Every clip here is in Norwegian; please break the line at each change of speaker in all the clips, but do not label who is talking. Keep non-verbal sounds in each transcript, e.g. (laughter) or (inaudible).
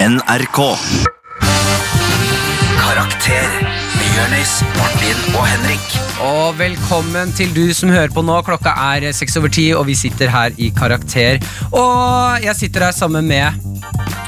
NRK. Karakter med Jonis, Martin og Henrik.
Og velkommen til du som hører på nå. Klokka er seks over ti, og vi sitter her i Karakter. Og jeg sitter her sammen med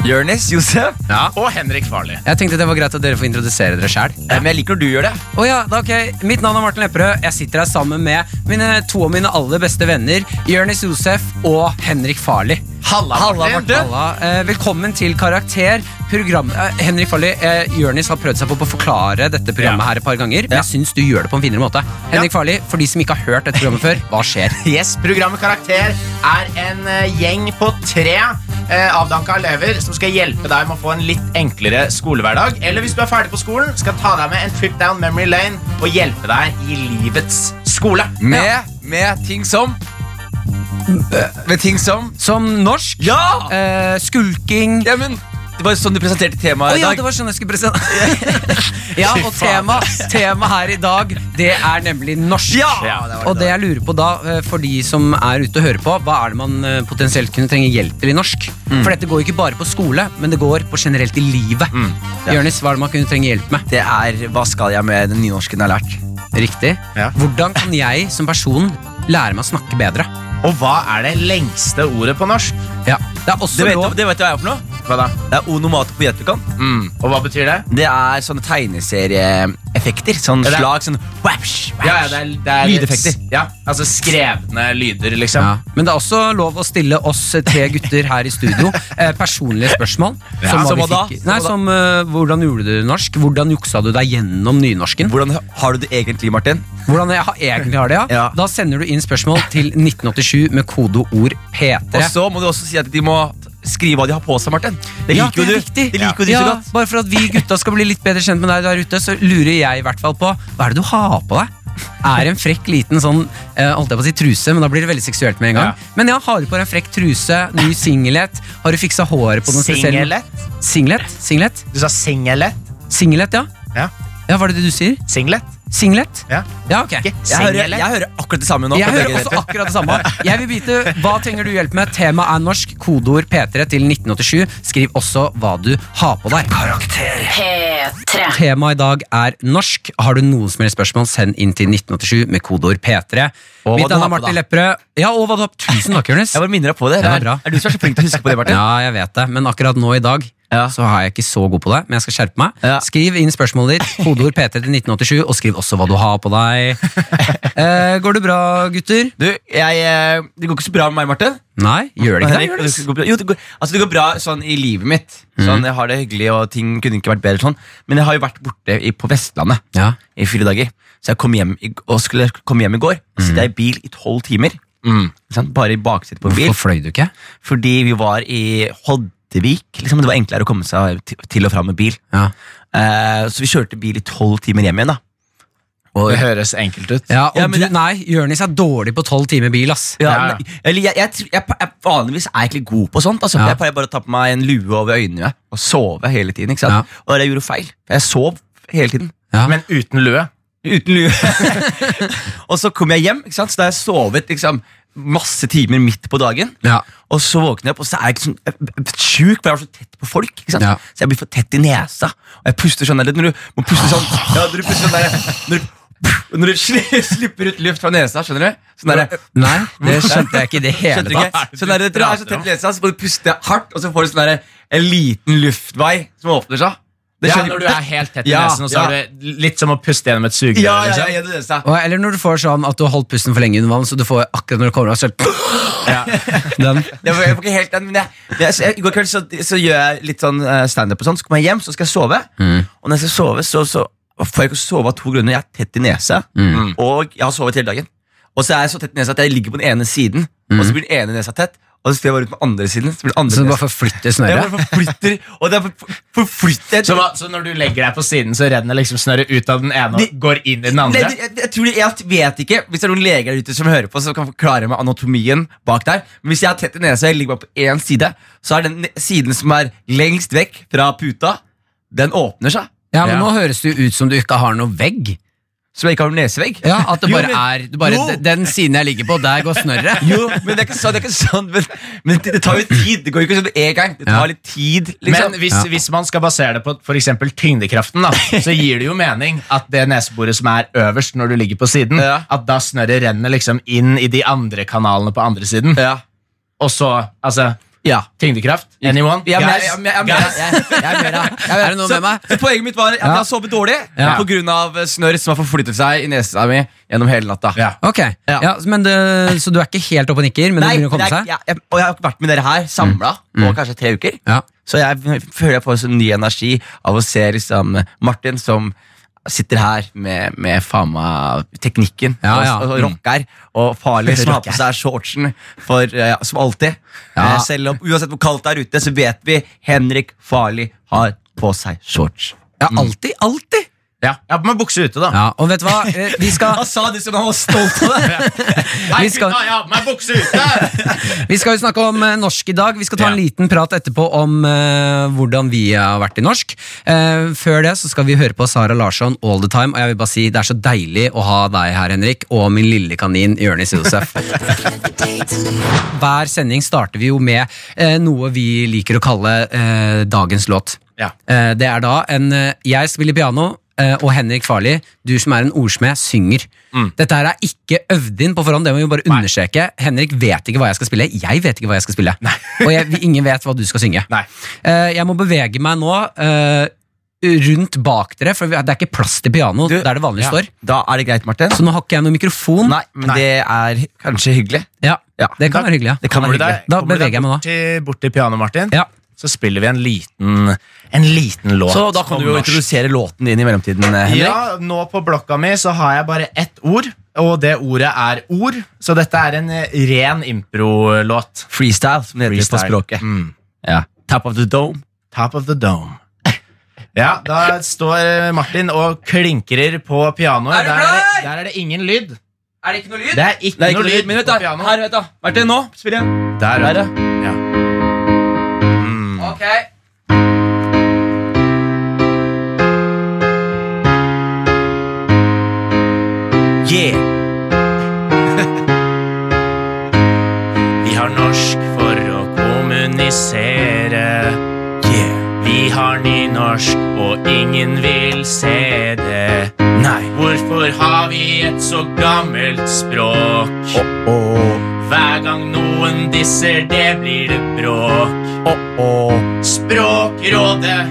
Jonis, Josef.
Og Henrik Farley.
Jeg tenkte det var greit at dere får introdusere dere sjæl.
Eh, Men jeg liker når du gjør det.
Oh, ja, da, ok. Mitt navn er Martin Lepperød. Jeg sitter her sammen med mine, to av mine aller beste venner, Jonis Josef og Henrik Farli.
Halla, Martin.
Halla. Eh, velkommen til Karakter. Program, eh, Henrik Farli, eh, Jonis har prøvd seg på, på å forklare dette programmet
Ja.
her et par ganger, men jeg syns du gjør det på en finere måte. Henrik Farli, for de som ikke har hørt dette programmet før, hva skjer?
Yes, Programmet Karakter er en eh, gjeng på tre eh, avdanka elever som skal hjelpe deg med å få en litt enklere skolehverdag. Eller hvis du er ferdig på skolen, skal ta deg med en trip down memory lane og hjelpe deg i livets skole.
Med, med ting som Med ting som
Som norsk,
Ja!
eh, skulking
ja men, det var sånn du
Å
presenterte temaet i
ja,
dag.
det var sånn jeg skulle presentere (laughs) Ja, og
Fy faen.
tema, tema her i dag, det er nemlig norsk.
Ja, det var det
og det jeg lurer på da, eh, for de som er ute og hører på, hva er det man eh, potensielt kunne trenge hjelp til i norsk?
Mm.
For dette går jo ikke bare på skole, men det går på generelt i livet. Mm.
Ja.
Jørnis, hva er det man kunne trenge hjelp med?
Det er Hva skal jeg med den nynorsken jeg har lært?
Riktig.
Ja.
Hvordan kan jeg som person lære meg å snakke bedre?
Og hva er det lengste ordet på norsk?
Ja. Det er også
Det vet,
lov
du- det vet du hva jeg er for noe?
Hva da?
Det er onomatopoietikon.
Mm. Og hva betyr det?
Det er sånne tegneserieeffekter. Sånn
Ja, det er-
slag. Sånn wapsh, wapsh.
Ja, ja, det er, det er
Lydeffekter.
Ja, altså skrevne lyder, liksom.
Ja. Men det er også lov å stille oss tre gutter her i
(laughs)
studio eh, personlige spørsmål.
Ja.
hva
Som
vi
hva da?
fikk-
Som
Nei,
hva da?
som eh, Hvordan gjorde du det norsk? Hvordan juksa du deg gjennom nynorsken?
Hvordan har du det egentlig, Martin?
Hvordan jeg har, egentlig har det, ja.
Ja.
Da sender du inn spørsmål til 1987 med kodeord P3.
Og så må du også si at de må skrive hva de har på seg, Martin. Det
Ja,
liker jo
det er
du.
riktig.
Det liker jo du
ja,
så godt.
Bare for at vi gutta skal bli litt bedre kjent med deg der ute, så lurer jeg i hvert fall på hva er det du har på deg? Er en frekk liten sånn eh, holdt jeg på å si truse, men da blir det veldig seksuelt med en gang.
Ja.
Men ja, har du på deg en frekk truse, ny singlet? Har du fiksa håret på noen spesiell
Singlet?
Singlet? Singlet?
Du sa singlet?
Singlet, ja.
Ja.
Ja, Hva er det du sier?
Singlet?
Singlet?
Ja.
Ja, ok.
Ikke
Jeg hører,
singlet?
jeg hører akkurat det samme nå.
Jeg
på
hører
begge
også
dere.
akkurat det samme. Jeg vil vite, Hva trenger du hjelp med? Temaet er norsk. Kodeord P3 til 1987. Skriv også hva du har på deg.
P3.
Temaet i dag er norsk. Har du noen som helst spørsmål, send inn til 1987 med kodeord P3.
Og hva
Mitt
du
navn
har
er
på
Martin
deg.
Lepperød. Ja, og hva du har på Tusen takk, Jonis.
(laughs) Jeg bare minner deg på det.
Det var
er,
bra.
er du som er så flink til å huske på det, Martin.
Ja, jeg vet det, men akkurat nå i dag
Ja.
så er jeg ikke så god på det, men jeg skal skjerpe meg.
Ja.
Skriv inn spørsmålet ditt, kodeord P3 til 1987, og skriv også hva du har på
(laughs)
deg. eh, går det bra, gutter?
Du, jeg, eh, det går ikke så bra med meg, Martin.
Nei, gjør det ikke
Henrik,
det? Jonas? Mhm.
det går bra- jo, det går, altså, det går bra sånn i livet mitt. Sånn, Jeg har det hyggelig, og ting kunne ikke vært bedre. sånn Men jeg har jo vært borte i, på Vestlandet
Ja.
i fire dager. Så jeg kom hjem i, og skulle komme hjem i går. Så sitter jeg i bil i tolv timer. Sant? Bare i baksetet på en bil.
Mhm. Hvorfor fløy du ikke?
Fordi vi var i Hoddevik. Liksom, det var enklere å komme seg til- til og fra med bil.
Ja.
Eh, så vi kjørte bil i tolv timer hjem igjen. da
Det høres enkelt ut.
Ja, og
Ja, men
du,
det-
nei, Jørnis er dårlig på tolv timer bil, ass.
Ja,
Ja, ja.
men- Eller jeg, jeg, tr- jeg, jeg, vanligvis er jeg egentlig god på sånt. Altså.
Ja.
Jeg pleier bare å ta på meg en lue over øynene og sove hele tiden. Ikke sant?
Ja.
Og jeg gjorde feil. Jeg sov hele tiden.
Ja.
Men uten lue.
Uten lue. (laughs) og så kom jeg hjem, ikke sant? så da har jeg sovet liksom, masse timer midt på dagen.
Ja.
Og så våkner jeg opp, og så er jeg liksom jeg- jeg- sjuk, for jeg var så tett på folk. Ikke sant?
Ja.
Så jeg blir for tett i nesa. Og jeg puster sånn der, når du må puste sånn ja, Når du puster sånn der Når du, når du sli- (laughs) slipper ut luft fra nesa, skjønner du? Sånn der,
Nei, det skjønte jeg ikke i det hele
Skjønner du ikke?
tatt.
Sånn der, dere er så tett lesa, så må du puste hardt, og så får du sånn der, en liten luftvei som åpner seg. Det
Ja,
skjønner-
når du er helt tett i
Ja,
nesen, og så
ja.
er det litt som å puste gjennom et sugerør.
Ja, ja, ja,
liksom.
ja, det er det.
Og, eller når du får sånn at du har holdt pusten for lenge under vann, så du får akkurat når du kommer av, så Den.
Jeg får jeg får ikke helt den, men jeg, jeg, så jeg, I går kveld så, så gjør jeg litt sånn eh, standup, og sånn, så kommer jeg hjem, så skal jeg sove.
Mm.
Og når jeg skal sove, så, så får jeg ikke sove av to grunner. Jeg er tett i nesa,
Mm.
og jeg har sovet hele dagen. Og så er jeg så tett i nesa at jeg ligger på den ene siden, og så blir den ene nesa tett. Og så står jeg bare ut på den andre siden. Så blir den
Mm. Så du
andre
bare
nesa.
forflytter
Jeg
snøret?
bare forflytter, og det er for- forflytter
Så, hva, så når du legger deg på siden, så renner liksom snøret ut av den ene og
Det-
går inn i den
Nei,
andre?
du, jeg, jeg, tror det, jeg vet ikke Hvis det er noen leger der ute som hører på Som kan forklare meg anatomien bak der Men hvis jeg har tett i nesa og jeg ligger bare på én side Så er den ne- siden som er lengst vekk fra puta Den åpner seg
Ja, men
Ja.
nå høres det jo ut som du ikke har noe vegg.
Som jeg ikke har noen nesevegg?
Ja, At det
Jo,
bare
men-
er du bare,
jo.
d- Den siden jeg ligger på, der går snørret.
Jo, men det er ikke sånn, det er ikke sånn men, men det, det tar jo tid. Det går jo ikke sånn en gang. Det
Ja.
tar litt tid.
Men
Liksom.
hvis, hvis man skal basere det på for eksempel tyngdekraften,
(laughs)
da, så gir det jo mening at det neseboret som er øverst når du ligger på siden,
Ja.
at da snørret renner liksom inn i de andre kanalene på andre siden.
ja.
Og så, altså
ja.
Tyngdekraft? Anyone?
Jeg er med,
Guys?
jeg er med, jeg er med,
Guys?
jeg er- jeg er med deg. Jeg er
(laughs)
med.
Er det noe med meg?
Så, så poenget mitt var at jeg har sovet dårlig
Ja.
På grunn av eh, snørr som har forflyttet seg i nesa mi gjennom hele natta.
Ja.
Ok, ja.
Ja.
men det, Så du er ikke helt oppe og nikker, men
Nei,
det begynner å
det
komme
er-
seg? Mm.
jeg, jeg, og jeg har vært med dere her samla på kanskje tre uker.
Ja.
Så jeg føler jeg får sånn ny energi av å se liksom Martin som sitter her med, med faen meg teknikken
Ja, ja.
og, og rocker. Og (laughs) farlig som har på seg shortsen for, eh, som alltid.
Ja.
Eh, Selv om Uansett hvor kaldt det er ute, så vet vi Henrik Farli har på seg shorts. Mm.
Ja, alltid, alltid!
Ja. ja, med bukse ute, da.
Ja, og vet du hva? Eh, Vi skal,
(laughs) Han sa det som han var stolt av det!
Hei,
vi skal-
gutta, jeg har på meg bukse ute!
(laughs)
vi skal jo snakke om eh, norsk i dag. Vi skal ta en
Ja.
liten prat etterpå om eh, hvordan vi har vært i norsk. Eh, før det så skal vi høre på Sara Larsson all the time, og jeg vil bare si det er så deilig å ha deg her, Henrik, og min lille kanin Jonis Josef. Hver sending starter vi jo med eh, noe vi liker å kalle eh, dagens låt.
Ja.
Eh, Det er da en eh, Jeg spiller piano, eh, og Henrik Farli, du som er en ordsmed, synger. Dette her er ikke øvd inn på forhånd, det må vi bare understreke. Henrik vet ikke hva jeg skal spille, jeg vet ikke hva jeg skal spille. og jeg, vi- ingen vet hva du skal synge.
Nei.
Eh, Jeg må bevege meg nå eh, rundt bak dere, for vi- det er ikke plass til piano
Du-
der det vanligvis
(laughs) Ja.
står.
Da er det greit, Martin.
Så nå har ikke jeg noen mikrofon.
Nei, men det er kanskje hyggelig.
Ja,
Ja.
Det kan være hyggelig, ja.
Det kan
Kommer du
være
deg,
hyggelig.
Da
kommer du
beveger
deg
jeg meg
bort til, bort til pianoet, Martin,
ja.
så spiller vi en liten, en liten låt.
Så da kan
om
du jo
norsk.
introdusere låten din i mellomtiden, eh, Henrik.
Ja, nå på blokka mi så har jeg bare ett ord, og det ordet er ord. Så dette er en eh, ren impro-låt.
Freestyle, som det heter
Freestyle.
på språket.
Mm.
Ja. Tap of the dome.
Top of the dome. (laughs) Ja, da står eh, Martin og klinkrer på pianoet.
Er du
der, er det,
klar?
der er det ingen lyd.
Er det ikke noe lyd?
Det er ikke,
Det er ikke
noe lyd
men vet
på
du,
pianoet.
her, vet du. Martin, nå, spill igjen.
Der,
Der,
ja.
ja.
Ok.
Yeah.
(laughs) Vi har norsk for å kommunisere.
Yeah.
Vi har nynorsk, og ingen vil se det.
Nei.
Hvorfor har vi et så gammelt språk?
Åh, åh,
Hver gang noen disser, det blir det bråk.
åh, åh.
Språkrådet.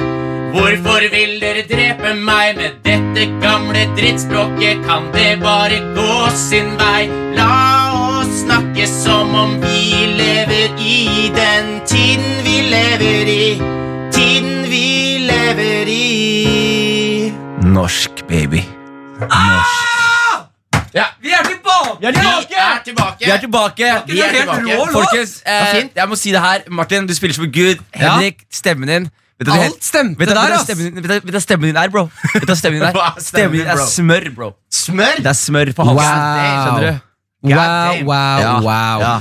Hvorfor vil dere drepe meg med dette gamle drittspråket? Kan det bare gå sin vei? La oss snakke som om vi lever i den tiden vi lever i. Tiden vi lever i.
Norsk, baby.
Vi er tilbake!
Vi er tilbake!
Vi er tilbake.
Vi er tilbake.
Folkens,
Det var
eh,
fint.
jeg må si det her. Martin, du spiller som en gud.
Ja.
Henrik, stemmen din. Vet du, hva det
Alt
het-
stemte
Vet du,
der,
hva
ass.
stemmen din- vet du vet du hva stemmen din er, bro? Vet du hva stemmen din er?
Hva er
Stemmen
stemmen,
din er
bro?
smør, bro.
Smør!
Det er smør på halsen.
Wow.
Skjønner du?
Wow, wow,
Ja.
wow.
Ja.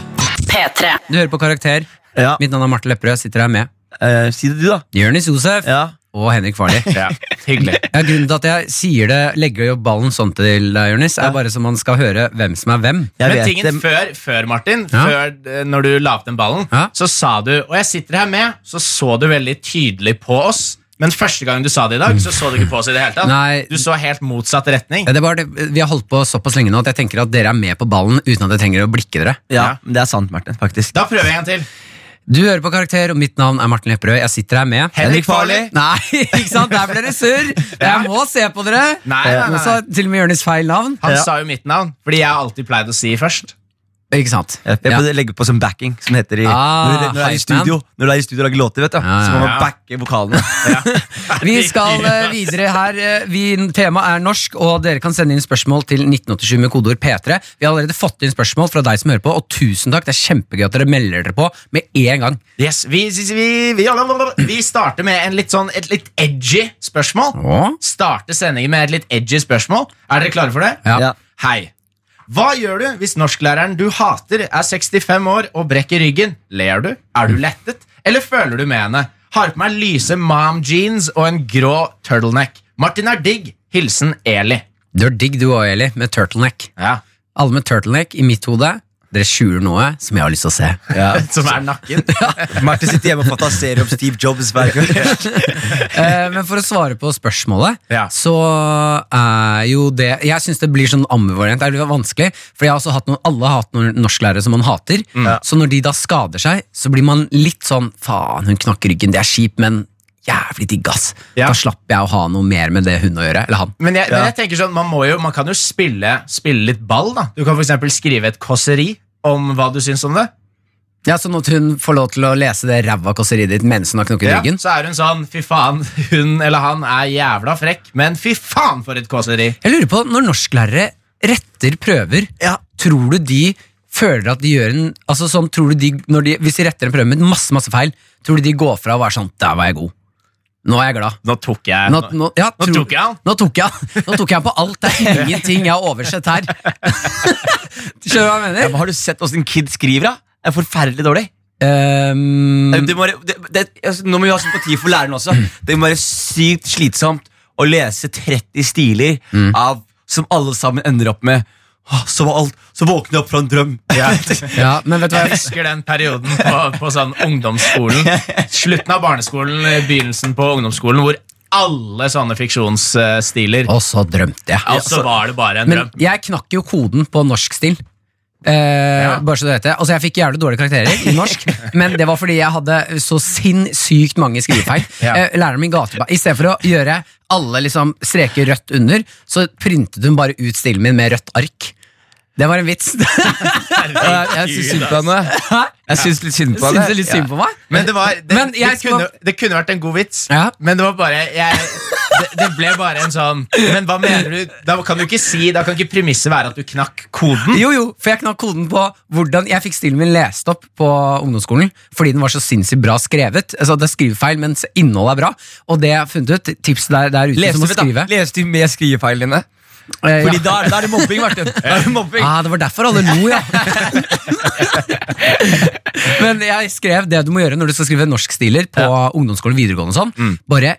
P3.
Du hører på Karakter.
Ja.
Mitt navn er Marte Lepperød. jeg Sitter her med
Eh, si det du, da.
Jonis Josef
Ja.
og Henrik Farli.
Ja, hyggelig.
Ja, grunnen til at jeg sier det, legger jo ballen sånn til deg, Jonis, er bare så man skal høre hvem som er hvem.
Men
Jeg vet
tingen
det.
før, før Martin,
Ja.
før, eh, når du la opp den ballen,
Ja.
så sa du Og jeg sitter her med, så så du veldig tydelig på oss. Men første gang du sa det i dag, så så du ikke på oss i det hele tatt.
Nei.
Du så helt motsatt retning.
Ja, Det er bare det, vi har holdt på såpass lenge nå at jeg tenker at dere er med på ballen uten at jeg trenger å blikke dere.
Ja, men det er sant, Martin. Faktisk.
Da prøver jeg en til.
Du hører på Karakter, og mitt navn er Martin Lepperød. Jeg sitter her med
Henrik Farli.
Nei, ikke sant? Der ble det surr! Jeg må se på dere!
Nei, nei, nei,
Nå sa til og med Jonis feil navn.
Han
Ja.
sa jo mitt navn, fordi jeg har alltid pleid å si først.
Ikke sant?
Jeg
Ja.
burde legge på som backing, som det heter i,
Ah,
når, du, når, du er i
hype
studio, når du er i studio og lager låter. vet du
Ja,
Så må man
ja.
backe vokalene.
Vi skal eh, videre her. eh, Vi, temaet er norsk, og dere kan sende inn spørsmål til 1987 med kodeord P3. Vi har allerede fått inn spørsmål fra deg som hører på, og tusen takk. Det er kjempegøy at dere melder dere på med en gang.
Yes, vi, vi, vi, vi, vi starter med en litt sånn, et litt edgy spørsmål. Starte sendingen med et litt edgy spørsmål. Er dere klare for det?
Ja.
Ja.
Hei. Hva gjør du hvis norsklæreren du hater, er 65 år og brekker ryggen? Ler du? Er du lettet? Eller føler du med henne? Har på meg lyse mom jeans og en grå turtleneck. Martin er digg. Hilsen Eli.
Du er digg du òg, Eli, med turtleneck.
Ja.
Alle med turtleneck i mitt hode. Dere skjuler noe som jeg har lyst til å se.
(laughs) Som er nakken.
Martin sitter hjemme og fantaserer om Steve Jobs hver kveld.
Eh, men for å svare på spørsmålet,
Ja.
så er jo det Jeg syns det blir sånn ambivalent. Det blir vanskelig, for jeg har også hatt noen, alle har hatt noen norsklærere som man hater.
Mm.
Så når de da skader seg, så blir man litt sånn Faen, hun knakk ryggen, det er kjipt, men jævlig digg, ass.
Ja.
Da slapp jeg å ha noe mer med det hun å gjøre. Eller han.
Men jeg, men jeg tenker sånn, man, må jo, man kan jo spille, spille litt ball, da. Du kan for eksempel skrive et kåseri om hva du syns om det.
Ja, Sånn at hun får lov til å lese det ræva kåseriet ditt mens hun har knokket
Ja,
ryggen.
så er hun sånn, fy faen, hun eller han er jævla frekk, men fy faen for et kåseri.
Jeg lurer på, når norsklærere retter prøver,
Ja.
tror du de føler at de gjør en Altså sånn, tror du de, når de Hvis de retter en prøve med masse, masse feil, tror du de går fra og er sånn 'Der var jeg god'. Nå er jeg glad.
Nå tok jeg
Nå, nå, ja,
Nå
tror-
tok jeg han.
Nå tok jeg han. Nå tok jeg han på alt. Det er ingenting jeg har oversett her. (laughs) Skjønner du hva jeg
Ja,
mener?
men har du sett åssen Kid skriver, da? Det er forferdelig dårlig. Mm.
Ehm,
Det må, være- det, det, altså, nå må vi ha sympati for læreren også. Det må være sykt slitsomt å lese 30 stiler av, som alle sammen ender opp med «Åh, så, var alt, så våkner (laughs) jeg opp fra en drøm.
Ja.
ja, men vet du hva
Jeg
jeg
husker den perioden på, på sånn ungdomsskolen. Slutten av barneskolen, eh, begynnelsen på ungdomsskolen, hvor alle sånne fiksjonsstiler
Og så drømte jeg.
Og så var det bare en
Men
drøm.
jeg knakk jo koden på norsk-stil. Eh, Bare så du vet det Altså Jeg fikk jævlig dårlige karakterer i norsk,
(laughs)
men det var fordi jeg hadde så sinnssykt mange
(laughs)
skrivefeil.
Ja.
Eh, læreren min ga tilbake I stedet for å gjøre alle liksom streker rødt under, så printet hun bare ut stilen min med rødt ark. Det var en vits.
Jeg syns synd på
(laughs)
henne. Jeg syns litt synd på
Syns
henne.
du litt synd på meg?
altså. Men det var Det,
Men jeg
det,
skal-
kunne, det kunne vært en god vits,
Ja.
men det var bare jeg, det, det ble bare en sånn Men hva mener du? Da kan du ikke si Da kan ikke premisset være at du knakk koden.
Jo, jo, for jeg knakk koden på hvordan jeg fikk stilen min lest opp på ungdomsskolen. Fordi den var så sinnssykt bra skrevet. Altså, det er skrivefeil, mens innholdet er bra. Og det jeg har funnet ut, tipset der, der ute som å
Leste vi, da?
skrive
Leste vi med skrivefeilene dine?
Eh,
Fordi
ja.
da, er- da er det mobbing, Martin. Da er det mobbing.
Ah, det var derfor alle lo, ja. Men jeg skrev det du må gjøre når du skal skrive norskstiler på ungdomsskolen videregående og sånn. Bare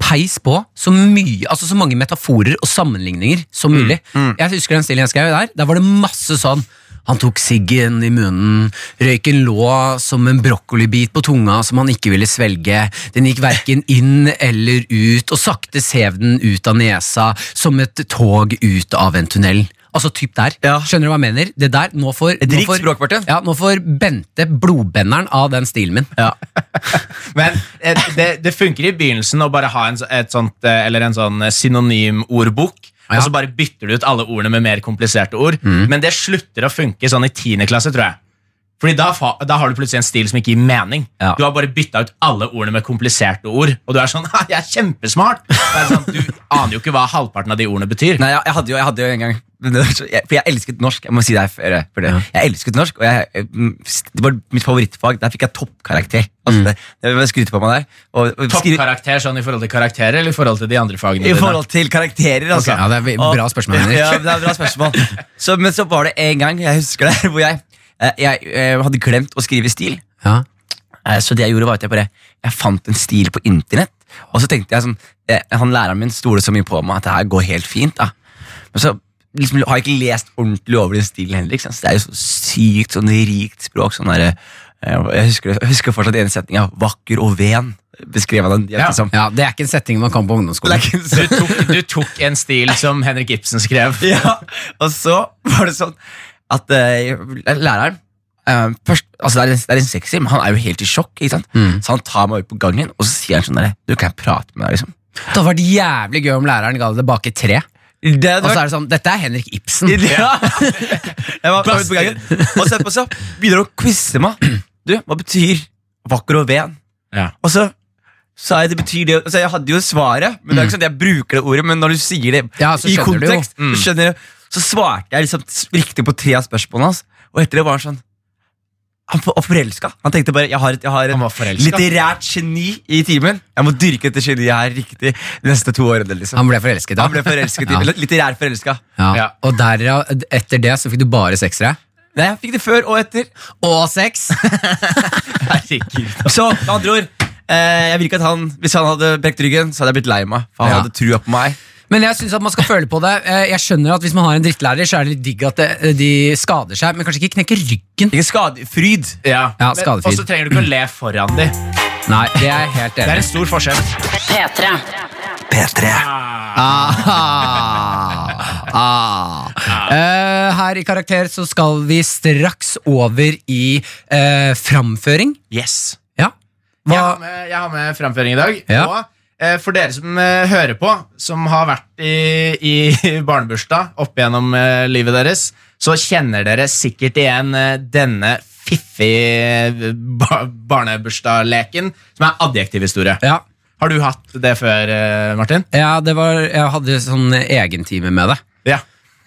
peis på så mye, altså så mange metaforer og sammenligninger som mulig. Jeg husker den stilen jeg skrev der. Der var det masse sånn han tok siggen i munnen, røyken lå som en brokkolibit på tunga som han ikke ville svelge, den gikk verken inn eller ut, og sakte sev den ut av nesa som et tog ut av en tunnel. Altså typ der.
Ja.
Skjønner du hva jeg mener? Det der, nå får,
Et
nå
rikt
får-
språk, Martin.
Ja, nå får Bente blodbenderen av den stilen min.
Men eh, det, det funker i begynnelsen å bare ha en, så- et sånt, eh, eller en sånn eh, synonymordbok.
Ja.
Og så bare bytter du ut alle ordene med mer kompliserte ord. Men det slutter å funke sånn i tiende klasse, tror jeg. Fordi da, fa- da har du plutselig en stil som ikke gir mening.
Ja.
Du har bare bytta ut alle ordene med kompliserte ord, og du er sånn (laughs) «Ha, 'Jeg er kjempesmart'. Det er sånn, du aner jo ikke hva halvparten av de ordene betyr.
Nei, jeg, jeg, hadde jo, jeg hadde jo en gang men det var så- jeg, For jeg elsket norsk. Jeg må si det her for, for det. Jeg elsket norsk, og jeg, eh, det var mitt favorittfag. Der fikk jeg toppkarakter. Altså,
Mm.
det, det var skryte på meg der. Og, og skrive-
Toppkarakter sånn i forhold til karakterer eller i forhold til de andre fagene
I
dine?
forhold til karakterer, altså.
Ok, ja, det er ve- bra spørsmål, Henrik.
Ja, det er bra
(laughs)
spørsmål. Så, men så var det en gang, jeg husker det, (laughs) hvor jeg, eh, jeg, eh, hadde glemt å skrive stil.
Ja.
Eh, Så det jeg gjorde var at jeg bare Jeg fant en stil på internett Og så tenkte jeg sånn eh, Han læreren min stod det så mye på meg At det her går helt fint da Men så liksom, har jeg ikke lest ordentlig over den stilen heller ikke sant? Så det er jo så sykt sånn rikt språk sånn der, eh, jeg, husker, det- jeg husker fortsatt en setning av Vakker og ven Beskrev han den
Ja.
dialekten som
ja, Det er ikke en setting man kan på ungdomsskolen.
sånn-
Du tok, du tok en stil som Henrik Ibsen skrev.
(laughs) Ja, og så var det sånn at eh, læreren eh, først, altså det, er en, det er en sexy, men han er jo helt i sjokk. Ikke sant? Så han tar meg ut på gangen og så sier han sånn der, Du kan jeg prate med deg, liksom.
Det hadde vært jævlig gøy om læreren ga det bake tre.
Det
Og så er det sånn, dette er Henrik Ibsen.
ja. (laughs) Jeg var var ute på gangen, og så etterpå så begynner han å quize meg. Du, hva betyr vakker og ven?
(laughs) Ja.
Og så sa jeg det betyr det altså Jeg hadde jo svaret, men det er ikke sånn at jeg bruker det ordet, men når du sier det
Mm. Ja, så
i
skjønner du jo. Mm.
kontekst, så skjønner jeg Så svarte jeg liksom s- riktig på tre av spørsmålene hans, og etter det var han sånn han var forelska. Han tenkte bare jeg har et, jeg har
Han var
et
forelska.
litterært geni i timen. Jeg må dyrke dette geniet her riktig de neste to årene. liksom
Han ble forelsket, da.
Han ble forelsket
(laughs)
i
Ja.
Litterær forelska.
Ja.
Ja.
Og derav, etter det så fikk du bare seksere.
Nei, jeg fikk det før og etter.
Og seks!
Herregud.
Så med andre ord eh, Jeg vil ikke at han Hvis han hadde brekt ryggen, så hadde jeg blitt lei meg. For han
Ja.
hadde trua på meg.
Men jeg synes at man skal føle på det. Eh, Jeg skjønner at Hvis man har en drittlærer, så er det litt digg at det- de skader seg, men kanskje ikke knekker ryggen.
Ikke skade, fryd.
Ja,
Ja,
Men-
skadefri.
Og så trenger du ikke å le foran dem.
Nei, det er jeg helt
Det er en
enig i.
stor forskjell. Ah.
P3.
P3
Ah, ah. Eh, her i Karakter så skal vi straks over i eh, framføring.
Yes
Ja.
Jeg har,
Hva?
med, jeg har med framføring i dag.
Ja.
Og eh, for dere som eh, hører på, som har vært i, i (laughs) barnebursdag opp gjennom eh, livet deres, så kjenner dere sikkert igjen eh, denne fiffige ba barnebursdagleken, som er adjektivhistorie.
Ja.
Har du hatt det før, eh, Martin?
Ja, det var, jeg hadde sånn egentime med det.
Ja.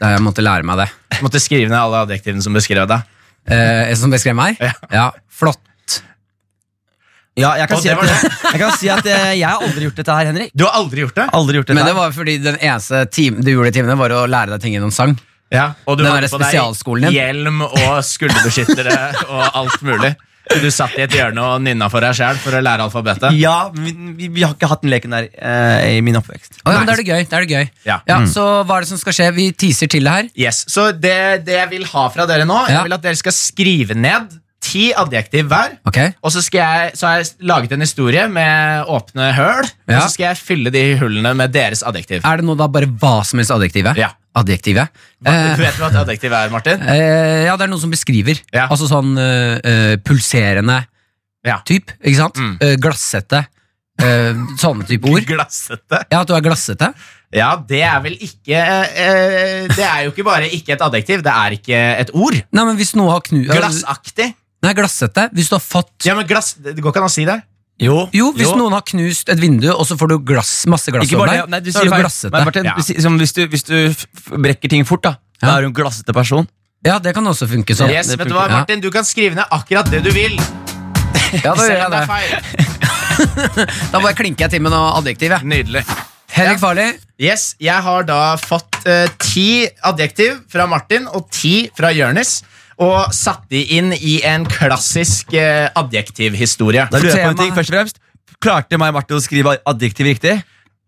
Der jeg måtte lære meg det.
Måtte skrive ned alle adjektivene som beskrev deg.
Eh, som beskrev meg?
Ja.
Flott.
Ja, jeg kan,
Og
si
det
at,
var det.
(laughs) jeg kan si at eh, jeg har aldri gjort dette her, Henrik.
Du har aldri gjort det?
Aldri gjort dette
Men det
her.
var fordi den eneste time, du gjorde i timene, var å lære deg ting gjennom sang.
Ja, og du
Den
hadde
der
på deg
spesialskolen din.
hjelm og skulderbeskyttere
(laughs)
og alt mulig. Du satt i et hjørne og nynna for deg sjæl for å lære alfabetet.
Ja, men vi, vi har ikke hatt den leken der eh, i min oppvekst.
Å, ja, men da er det gøy. Da er det gøy.
Ja. Mm.
Så hva er det som skal skje? Vi teaser til det her.
Yes, Så det, det jeg vil ha fra dere nå,
Ja.
Jeg vil at dere skal skrive ned ti adjektiv hver.
Ok?
Og så, skal jeg, så har jeg laget en historie med åpne høl, og
Ja.
så skal jeg fylle de hullene med deres adjektiv.
Er det nå da bare hva som helst adjektivet?
Ja.
Adjektivet?
Du
Eh,
vet hva et adjektiv er, Martin?
eh, ja, det er noe som beskriver.
Ja.
Altså sånn eh, eh, pulserende
Ja.
type, ikke sant?
Mm.
Eh, glassete. Eh, sånne type ord.
Glassete.
Ja, at du er glassete.
Ja, det er vel ikke eh, Det er jo ikke bare ikke et adjektiv, det er ikke et ord.
Nei, men hvis noe har knu... eh,
Glassaktig.
Nei, glassete. Hvis du har fått
Ja, men glass, Det går ikke an å si det.
Jo,
Jo, hvis
Jo.
noen har knust et vindu, og så får du glass, masse glass
Ikke
over
bare det,
deg,
nei, du
så er
sier
du
feil.
glassete.
Men Martin,
Ja.
du sier- som hvis du, hvis du f- f- brekker ting fort, da, da
Ja.
er du en glassete person.
Ja, det kan også funke sånn.
Yes,
det
vet du hva,
funker.
Martin, du kan skrive ned akkurat det du vil.
Ja, da gjør
Selv
jeg
om det er
det.
feil.
Da bare klinker jeg til med noe adjektiv, jeg.
Nydelig.
Henrik Farley,
Yes, Jeg har da fått eh, ti adjektiv fra Martin og ti fra Jonis. Og satt de inn i en klassisk eh, adjektivhistorie.
Da lurer jeg på en
Tema-
ting, først og fremst Klarte meg og Martin å skrive adjektiv riktig?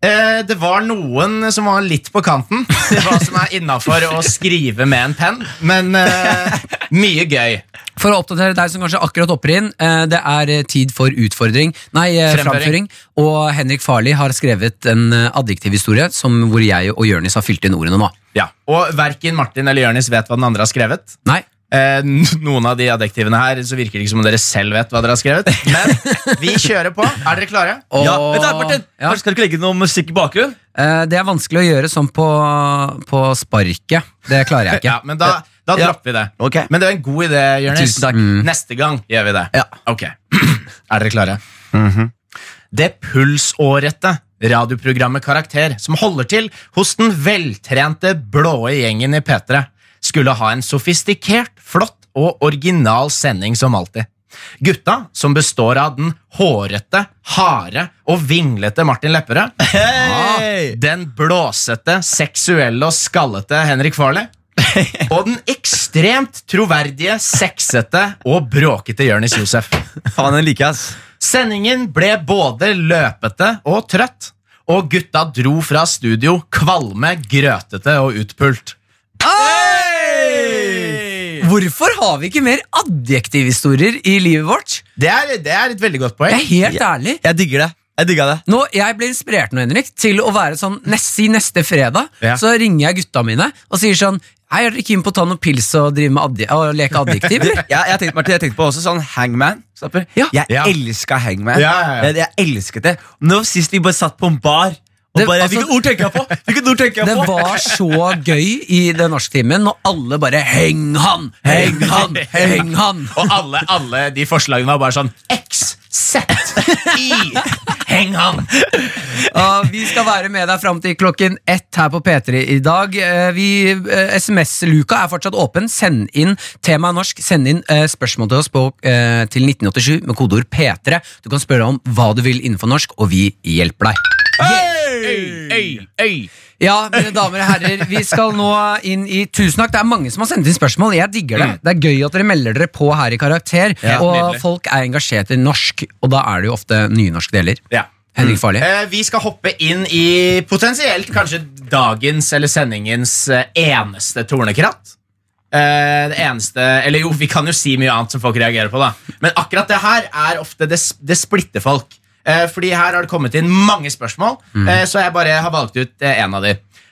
Eh, det var noen som var litt på kanten (laughs) til hva som er innafor å skrive med en penn, men eh, mye gøy.
for å oppdatere deg som kanskje akkurat hopper inn, eh, det er eh, tid for utfordring, nei, eh,
Fremføring.
framføring. Og Henrik Farley har skrevet en eh, adjektivhistorie som hvor jeg og Jørnis har fylt inn ordene nå.
Ja. Og verken Martin eller Jonis vet hva den andre har skrevet.
Nei,
Eh, n- noen av de adjektivene her Så virker det ikke som om dere selv vet hva dere har skrevet. Men vi kjører på. Er dere klare?
og,
Ja, vet du, hva, Martin,
Ja.
Kanskje Skal du ikke legge noe musikk i bakgrunnen?
Eh, Det er vanskelig å gjøre sånn på, på sparket. Det klarer
(laughs)
jeg ikke.
Ja, men Da, da
Ja.
dropper vi det.
Ok.
Men det var en god idé, Jonis.
Tusen takk.
Neste gang gjør vi det.
Ja.
Ok. (clears throat) er dere klare? Det pulsårete radioprogrammet Karakter, som holder til hos den veltrente blåe gjengen i P3, skulle ha en sofistikert, flott og original sending som alltid. Gutta, som består av den hårete, harde og vinglete Martin Lepperød,
Hey!
den blåsete, seksuelle og skallete Henrik Farley. Og den ekstremt troverdige, sexete og bråkete Jonis Josef.
Faen, den liker jeg, ass.
Sendingen ble både løpete og trøtt, og gutta dro fra studio kvalme, grøtete og utpult.
Hvorfor har vi ikke mer adjektivhistorier i livet vårt?
Det er, det er et veldig godt
Jeg
poeng.
er helt ærlig.
Jeg digger det. Jeg digga det.
Nå, Jeg ble inspirert nå, Henrik, til å være sånn nest, Si neste fredag
Ja.
så ringer jeg gutta mine og sier sånn Hei, er dere keen på å ta noen pils og, drive med adje og leke
(laughs)
adjektiv? eller?»
Jeg, jeg, tenkte, Martin, jeg tenkte på også sånn hangman. Stopper.
Ja.
Jeg
Ja.
elska hangman.
Ja, ja, ja.
Jeg, jeg elsket det. Nå Sist vi bare satt på en bar og
Det-
bare
altså-
Hvilket ord tenker jeg på?! Hvilket ord tenker
Det
jeg på?
var så gøy i den norsktimen når alle bare Heng han! Heng han! Heng han!
Og alle, alle de forslagene var bare sånn X, Z, I, heng han!
Ja, vi skal være med deg fram til klokken ett her på P3 i dag. Eh, Vi, eh, SMS-luka er fortsatt åpen. Send inn temaet norsk. Send inn eh, spørsmål til oss på, eh, til 1987 med kodeord P3. Du kan spørre om hva du vil innenfor norsk, og vi hjelper deg.
Øy, øy, øy.
Ja, mine damer og herrer, vi skal nå inn i Tusen takk. Det er mange som har sendt inn spørsmål. Jeg digger det. Det er gøy at dere melder dere på her i Karakter.
Mm. Ja,
og
nydelig.
folk er engasjert i norsk, og da er det jo ofte nynorsk det gjelder.
Ja.
Henrik Farli.
Eh, vi skal hoppe inn i potensielt kanskje dagens eller sendingens eh, eneste tornekratt. Eh, det eneste Eller jo, vi kan jo si mye annet som folk reagerer på, da. Men akkurat det her er ofte Det, det splitter folk. Eh, fordi her har det kommet inn mange spørsmål, eh, så jeg bare har valgt ut eh, en av de.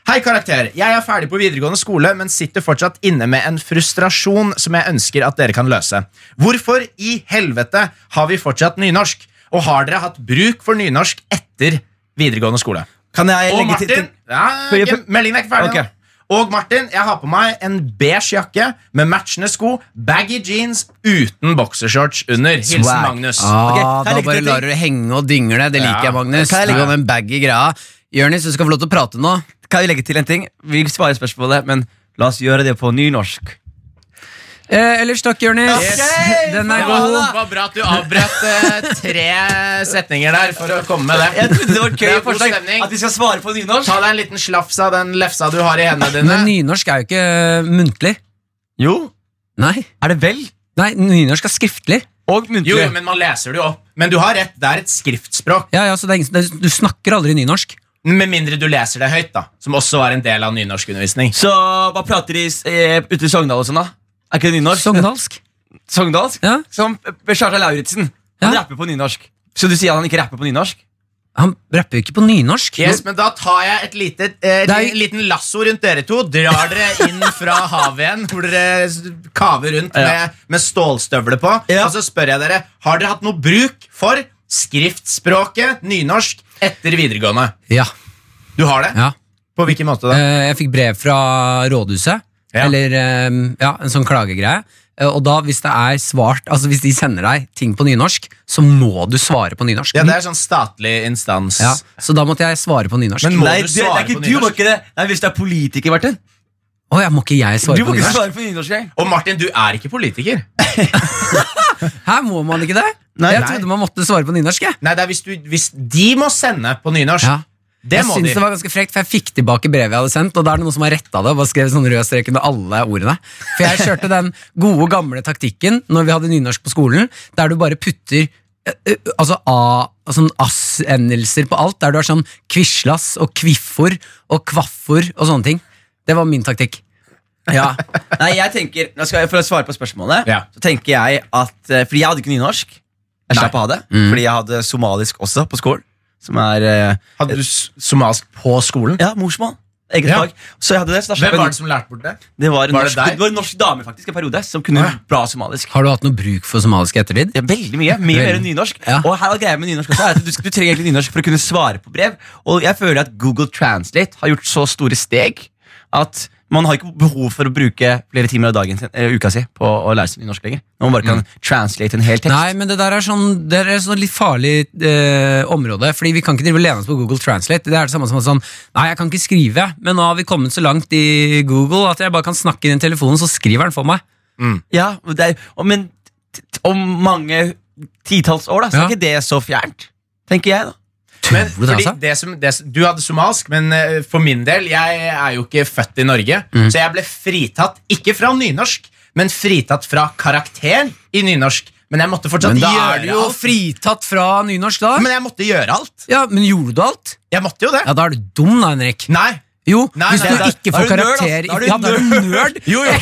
Hei, karakter. Jeg er ferdig på videregående skole, men sitter fortsatt inne med en frustrasjon som jeg ønsker at dere kan løse. Hvorfor i helvete har vi fortsatt nynorsk? Og har dere hatt bruk for nynorsk etter videregående skole?
Kan jeg
Og
legge til-
Martin ja,
Før jeg-
ikke- Meldingen er ikke ferdig
Ok.
nå. Og Martin, jeg har på meg en beige jakke med matchende sko, baggy jeans uten boksershorts under. Hilsen
Swag.
Magnus.
Ah,
Ok, kan jeg
da
legge
bare
til
lar du det henge og dingle. Det liker
Ja.
jeg, Magnus.
Kan jeg
Du
legge-
kan den baggy greia. Jonis, du skal få lov til å prate nå.
Kan jeg legge til en ting? Vi svarer spørsmålet, men la oss gjøre (laughs) det på nynorsk.
Eh, ellers takk, Jonis.
Yes.
Den
Ja,
er god.
Det var bra at du avbrøt eh, tre setninger der for å komme med
Jeg
det.
trodde det var et
Det er
gøy
god
forslag
stemning.
at vi skal svare på nynorsk.
Ta deg en liten slafs av den lefsa du har i hendene dine.
Men nynorsk er jo ikke eh, muntlig.
Jo,
Nei.
er det vel?
Nei, nynorsk er skriftlig.
Og
Jo,
muntlig.
jo, men man leser det jo opp. Men du har rett, det er et skriftspråk.
Ja, ja, så det er ingen, det er, Du snakker aldri nynorsk.
Med mindre du leser det høyt, da. Som også var en del av nynorskundervisning.
Så hva prater de s- eh, ute i Sogndal og sånn, da? Er ikke det nynorsk?
Sogndalsk.
Sogndalsk?
Ja.
Som eh, Kjartan Lauritzen. Han
Ja.
rapper på nynorsk. Så du sier at han ikke rapper på nynorsk?
Han rapper jo ikke på nynorsk.
Yes, men da tar jeg et lite, eh,
Det er
li-
jo-
liten lasso rundt dere to. Drar dere inn fra havet igjen, hvor dere s- kaver rundt med, med stålstøvler på.
Ja.
Og så spør jeg dere, har dere hatt noe bruk for skriftspråket nynorsk etter videregående?
Ja,
Du har det?
ja.
På hvilken måte da?
Eh, Jeg fikk brev fra rådhuset,
Ja.
eller eh, ja, en sånn klagegreie. Eh, Og da, hvis det er svart, altså hvis de sender deg ting på nynorsk, så må du svare på nynorsk.
Ja, det er sånn statlig instans.
mm. Ja, så da måtte jeg svare på nynorsk.
Men må
Nei,
du
det, det
svare
er ikke
på
du, må
nynorsk?
ikke det. Nei, Hvis det er politiker, Martin.
Å, ja, må ikke jeg
Du
svare
må
på
ikke
nynorsk?
svare på nynorsk. jeg.
Og Martin, du er ikke politiker.
Her må man ikke det?
Nei,
jeg
nei.
trodde man måtte svare på nynorsk. Jeg.
Nei, det er hvis, du, hvis de må sende på nynorsk.
Ja.
Det
jeg
må
syns
de.
det var ganske frekt, for jeg fikk tilbake brevet jeg hadde sendt, og da er det noen som har retta det og bare skrevet sånn rød strek under alle ordene. For jeg kjørte den gode, gamle taktikken når vi hadde nynorsk på skolen, der du bare putter eh, eh, Altså a, sånn ass-endelser på alt, der du har sånn kvislas og kviffor og kvaffor og sånne ting. Det var min taktikk.
Ja. Nei, jeg tenker, nå skal jeg, For å svare på spørsmålet,
Ja.
så tenker jeg at eh, Fordi jeg hadde ikke nynorsk. Jeg slapp å ha det.
Mm.
Fordi jeg hadde somalisk også på skolen. Som er eh,
Hadde du s- somalisk på skolen?
ja, morsmål. Eget
Ja.
fag. Så jeg hadde det. Så da
Hvem
slapp jeg
var det som lærte bort det?
Det var en,
Var det
norsk,
deg?
det var en norsk dame faktisk en periode som kunne
Å, ja.
bra somalisk.
Har du hatt noe bruk for somalisk ettertid?
Ja, veldig mye. Mye mer
Veldig.
enn nynorsk.
Ja.
Og her er greia med nynorsk også er at du, du trenger egentlig nynorsk for å kunne svare på brev. Og jeg føler at Google Translate har gjort så store steg at man har ikke behov for å bruke flere timer av dagen sin, eller uka si på å lære seg nynorsk lenger. Når man bare
Mm.
kan translate en hel tekst.
Nei, men det der er sånn Det er et sånn litt farlig eh, område. Fordi vi kan ikke drive og lene oss på Google Translate. Det er det samme som at sånn Nei, jeg kan ikke skrive, men nå har vi kommet så langt i Google at jeg bare kan snakke inn i telefonen, så skriver den for meg.
Ja, og det er, og, men t- t- om mange titalls år, da, så
Ja.
er ikke det så fjernt. Tenker jeg, da.
Men,
du det,
fordi
altså?
det som, det, som- du hadde somalisk, men eh, for min del Jeg er jo ikke født i Norge,
Mm.
så jeg ble fritatt ikke fra nynorsk, men fritatt fra karakter i nynorsk. Men jeg måtte fortsatt
Men da
gjøre
er du jo
alt.
fritatt fra nynorsk, da.
Men jeg måtte gjøre alt.
ja, men gjorde du alt?
Jeg måtte jo det.
Ja, da er du dum, da, Henrik.
Nei.
Jo,
Nei,
hvis
nei,
du
altså. da-
ikke
da
får
er du nerd, ass.
karakter
Da er du
Ja, da er du nerd.
(laughs) Jo, jo.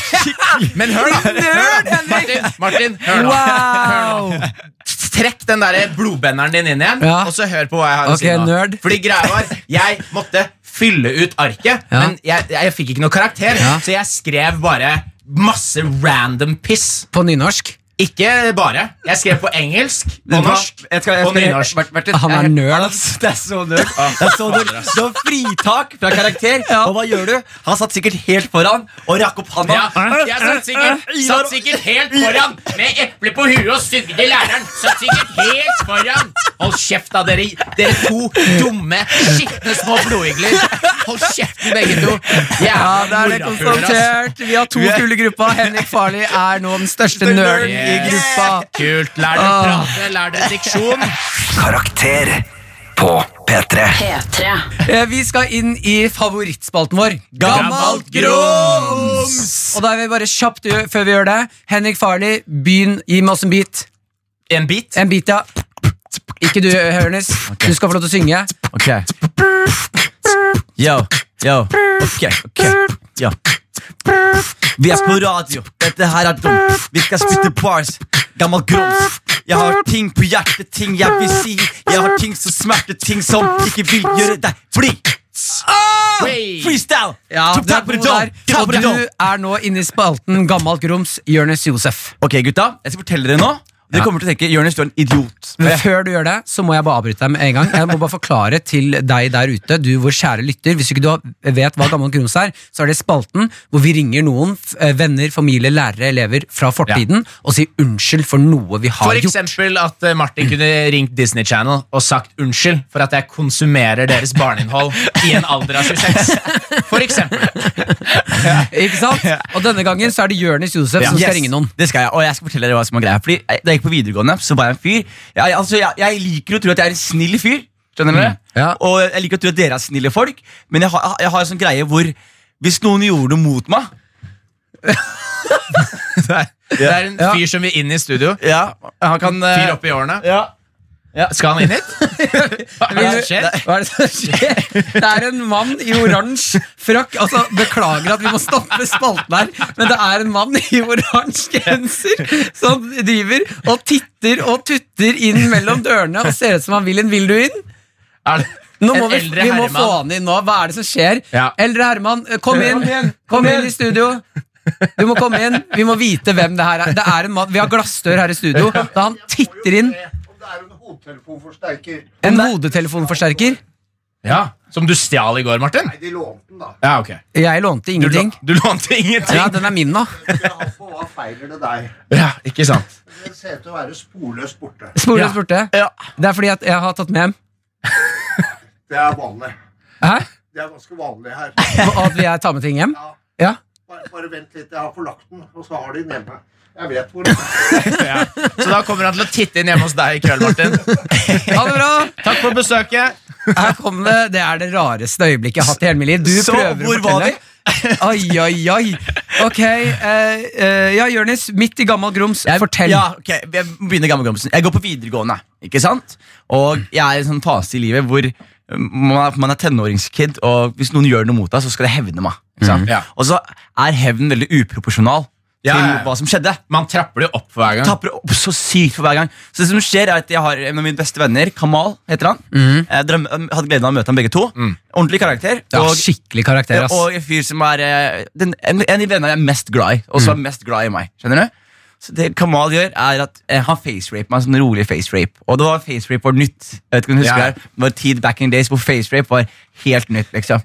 Men hør,
(laughs)
da. Hør da. Martin, Martin, hør nå.
Wow!
Trekk den der blodbenderen din inn igjen,
Ja.
og så hør på hva jeg har å
Ok,
si nå.
nerd.
Fordi greia var, jeg måtte fylle ut arket,
Ja.
men jeg, jeg fikk ikke noe karakter,
Ja.
så jeg skrev bare masse random piss.
På nynorsk.
Ikke bare. Jeg skrev på engelsk
Vet
og
du hva?
norsk
Jeg skal- jeg
og
skal-
nynorsk.
Mart- Martin,
Han er
jeg-
nerd,
han er-
ass.
Det er så nerd. Det er så nerd. Så fritak fra karakter. Og hva gjør du? Han satt sikkert helt foran og rakk opp handa. Eh,
Ja, jeg satt sikkert, satt sikkert helt foran med eple på huet og sugde læreren. Satt sikkert helt foran. Hold kjeft, da, dere, dere to dumme, skitne små blodigler. Hold kjeften, begge to.
Ja, (laughs) det er det konstatert. Vi har to kule i gruppa. Henrik Farli er nå den største nerden i
Yes.
gruppa.
Kult. Lær
Ah.
dere prate, lær dere diksjon.
Karakter på P3.
P3.
Eh, Vi skal inn i favorittspalten vår.
Gammalt
grums! Og da er vi bare kjapt gjø- før vi gjør det. Henrik Farli, begynn. Gi meg oss en bit.
En bit.
En bit, ja. Ikke du, Ernest. Du skal få lov til å synge.
Ok. Yo, yo. Ok, ok. Ja. Vi er på radio. Dette her er dumt. Vi skal spytte bars. Gammel grums. Jeg har ting på hjertet, ting jeg vil si. Jeg har ting som smerter, ting som ikke vil gjøre deg fri. Ah!
Wey.
Freestyle!
Ja,
Topp
du er
takk for
god
det, John.
der.
Takk
Og
for det,
du
John.
er nå inne i spalten Gammalt grums, Jonis Josef.
Ok, gutta. Jeg skal fortelle dere nå. Dere
Ja.
kommer til å tenke Jonis, du er en idiot.
Men før du gjør det, så må jeg bare avbryte deg med en gang. Jeg må bare forklare til deg der ute, du vår kjære lytter, hvis ikke du vet hva Gammel Grums er, så er det spalten hvor vi ringer noen f- eh, venner, familie, lærere, elever fra fortiden og sier unnskyld for noe vi har
For
gjort.
eksempel at eh, Martin kunne ringt Disney Channel og sagt unnskyld for at jeg konsumerer deres barneinnhold i en alder av 26. For eksempel.
Ikke
(laughs)
sant? Og denne gangen så er det Jonis Josef som skal
Yes,
ringe noen.
Det skal jeg, og jeg skal fortelle dere hva som er greia. Fordi jeg- Da jeg gikk på videregående, så var jeg en fyr. Jeg, altså, jeg, jeg liker å tro at jeg er en snill fyr. Skjønner dere?
Ja.
Og jeg liker å tro at dere er snille folk, men jeg har, jeg har en sånn greie hvor hvis noen gjorde noe mot meg
Det er en
Ja.
fyr som vil inn i studio.
ja,
Han kan eh, Fyr opp i årene.
ja.
Skal han inn hit? Hva er det som skjer?
Hva er det som skjer? Det er en mann i oransje frakk. Altså, Beklager at vi må stoppe spalten her, men det er en mann i oransje genser som driver og titter og tutter inn mellom dørene og ser ut som han vil inn. Vil du inn?
Er det
Nå
en
må vi,
eldre
vi må få
herremann?
han inn nå. Hva er det som skjer?
Ja.
Eldre Herman, kom inn. Kom inn i studio. Du må komme inn. Vi må vite hvem det her er. Det er en mann, Vi har glassdør her i studio. Da han titter inn
Om det er en hodetelefonforsterker.
en hodetelefonforsterker.
Ja, Som du stjal i går, Martin?
Nei, de lånte den, da.
Ja, ok
Jeg lånte
Du,
ingenting.
lå- du lånte ingenting?
Ja, den er min nå.
Jeg har på, Hva feiler det deg?
Ja, ikke sant
Det ser ut til å være sporløst borte.
Sporløs
Ja.
borte.
Ja.
Det er fordi at jeg har tatt med hjem.
Det er vanlig.
Hæ?
Det er ganske vanlig her.
Og at jeg tar med ting hjem.
Ja,
Ja.
bare, bare vent litt, jeg har forlagt den, og så har de den hjemme. Jeg vet hvor den er.
ja. Så da kommer han til å titte inn hjemme hos deg i kveld, Martin.
Ha det bra!
Takk for besøket.
Her kom det. Det er det rareste øyeblikket jeg har hatt i hele mitt liv. Du
Så,
prøver
hvor
å
var
fortelle. Oi, oi, oi. Ok. eh, eh, ja, Jonis. Midt i gammel grums. Fortell.
Ja, ok, Jeg begynner gammel gromsen. Jeg går på videregående, ikke sant? Og jeg er i en sånn fase i livet hvor um, man er, man er tenåringskid, og hvis noen gjør noe mot deg, så skal det hevne meg. Ikke sant?
Mhm. Ja.
Og så er hevnen veldig uproporsjonal
Ja,
til
ja, ja.
hva som skjedde.
Man trapper det jo opp for hver gang.
Tapper opp så sykt for hver gang. Så det som skjer er at Jeg har en av mine beste venner, Kamal, heter han.
Mm.
Jeg drøm, hadde gleden av å møte ham begge to. Ordentlig karakter.
Ja,
og-
skikkelig karakter, ass.
Eh, og en fyr som er eh, den, en, en av de vennene jeg er mest glad i, og som er mest glad i meg. Skjønner du? Så det Kamal gjør, er at eh, han facerape meg. Sånn rolig facerape. Og det var facerape var nytt. Jeg vet ikke om du husker
Ja.
det. Det var tid back in days hvor facerape var helt nytt. liksom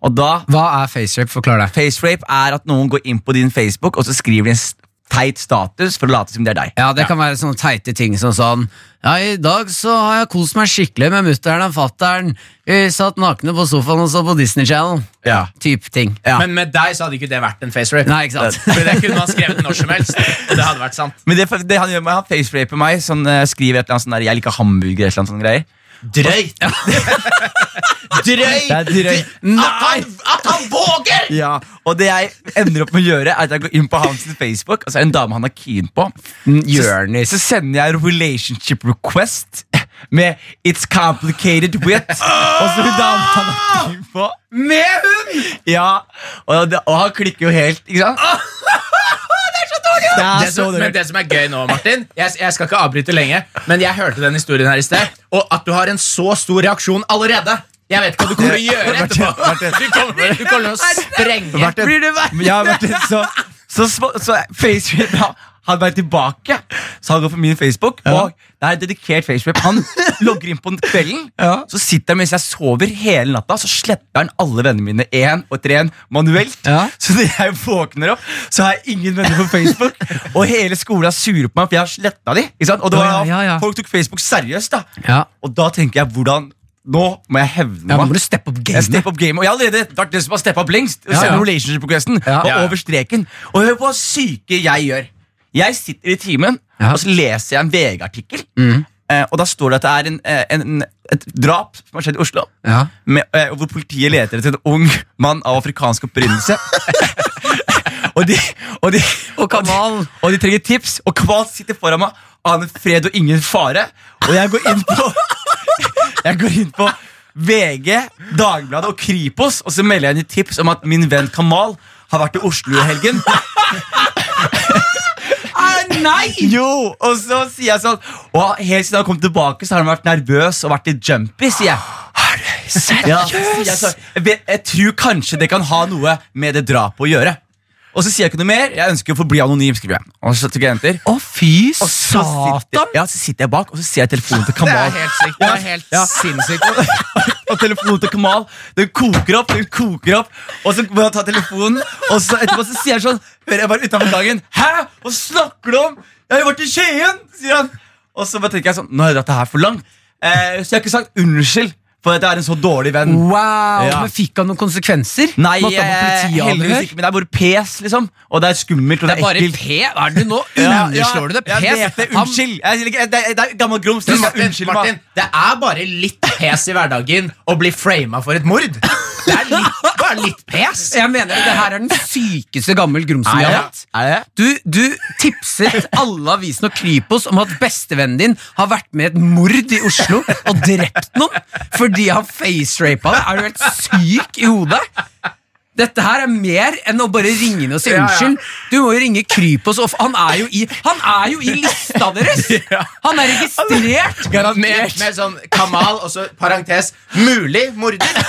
Og da
Hva er facerape? Forklar det.
Facerape er at noen går inn på din Facebook og så skriver de en s- teit status for å late som det er deg.
Ja, det kan være sånne teite ting som sånn Ja, i dag så har jeg kost meg skikkelig med mutter'n og fatter'n. Vi satt nakne på sofaen og så på Disney Channel.
Ja.
Type ting.
Ja.
Men med deg så hadde ikke det vært en facerape.
Nei, ikke sant?
For det kunne man skrevet når som helst. Og det hadde vært sant.
Men det, det han gjør meg, han faceraper meg, sånn, eh, skriver et eller annet sånn der 'jeg liker hamburger' eller sånn greier.
Drøyt! Drøyt!
Det er drøyt.
At han, at han våger!
Ja, og det jeg ender opp med å gjøre, er at jeg går inn på hans Facebook, og så er det en dame han er keen på.
Mm,
Så,
Jonis.
så sender jeg en relationship request med 'It's complicated with'. Og så er det dame han er keen på.
Ah! Med hund!
Ja, og, det, og han klikker jo helt, ikke sant? det
Ah! (laughs) det
er så
som,
dårlig!
men Ah. det som er gøy nå, Martin jeg, jeg skal ikke avbryte lenge, men jeg hørte den historien her i sted, og at du har en så stor reaksjon allerede. Jeg vet ikke hva du kommer til å gjøre etterpå. Du kommer, du kommer til å sprenge.
Martin, Jeg har vært en så, så, små- så Facebook da, han var tilbake, så han går på min Facebook. Og det er en dedikert Facebook. Han logger inn på den kvelden, så sitter han mens jeg sover hele natta, så sletter han alle vennene mine én og etter én manuelt.
Ja.
Så når jeg våkner opp, så har jeg ingen venner på Facebook. og hele skolen er sure på meg, for jeg har sletta de. Ikke sant? Og det var,
Ja, ja, ja.
folk tok Facebook seriøst, da.
Ja.
Og da tenker jeg hvordan Nå må jeg hevne
Ja, nå
meg.
må du steppe opp
Jeg
gamet.
step up game, og jeg har allerede vært den som har steppet opp lengst.
ja.
Selv om relationship-requesten
Ja.
var
Ja, ja.
over streken. Og hør på hva syke jeg gjør. Jeg sitter i timen,
Ja. Mm.
og så leser jeg en VG-artikkel. Eh, og da står det at det er en, eh, en, en, et drap som har skjedd i Oslo.
Ja.
Med, eh, hvor politiet leter etter en ung mann av afrikansk opprinnelse. og (laughs) Og de, og de,
Og Kamal.
og de trenger tips, og Kval sitter foran meg. Aner fred og ingen fare. Og jeg går inn på Jeg går inn på VG, Dagbladet og Kripos, og så melder jeg inn et tips om at min venn Kamal har vært i Oslo i
(laughs)
helgen.
Ah,
Nei! Jo, og så sier jeg sånn Og helt siden han kom tilbake, så har han vært nervøs og vært i jumpy, sier jeg.
Ah,
Ja, så sier jeg, sånn, jeg, vet- jeg tror kanskje det kan ha noe med det drapet å gjøre. Og så sier jeg ikke noe mer. Jeg ønsker å forbli anonym. skriver jeg Og så trykker jeg enter.
Å, fy
Og så sitter, ja, så sitter jeg bak, og så ser jeg telefonen
Det
til
er
Kamal.
helt sykt. Det er helt
Ja.
sinnssykt.
Og telefonen til Kamal Den koker opp, den koker opp Og så må jeg ta telefonen Og så etterpå så sier han sånn Hører jeg bare utenfor dagen Hæ? Hva snakker du om? Jeg har jo vært i Skien Sier han Og så bare tenker jeg sånn Nå har jeg dratt det her for langt eh, Så jeg har ikke sagt unnskyld For at jeg er en så dårlig venn
Wow,
Ja.
men Fikk han noen konsekvenser?
Nei,
Måtte
jeg,
han på
heldigvis
politiavhør?
ikke Men det er bare pes liksom Og det er skummelt og
Det
det
er
er
bare
ekkelt
P. Hva er det du nå? Underslår du det?
Jeg vet det,
Pes? Han-
unnskyld jeg, sier ikke- det, er- det er gammel grums Du skal
Martin,
unnskylde
Martin,
meg
det er bare litt pes i hverdagen å bli frama for et mord. Det er litt, bare litt pes.
Jeg mener det her er den sykeste gammel grumsen vi
Er
har
det?
hatt.
Er det?
Du, du tipset alle avisene og Kripos om at bestevennen din har vært med i et mord i Oslo og drept noen fordi han facerapa deg. Er du helt syk i hodet? Dette her er mer enn å bare ringe inn og si
Ja, ja.
unnskyld. Du må jo ringe Kripos. Og f- han, er jo i, han er jo i lista
(laughs)
deres! Han er registrert!
Med, med sånn Kamal, og så parentes mulig morder.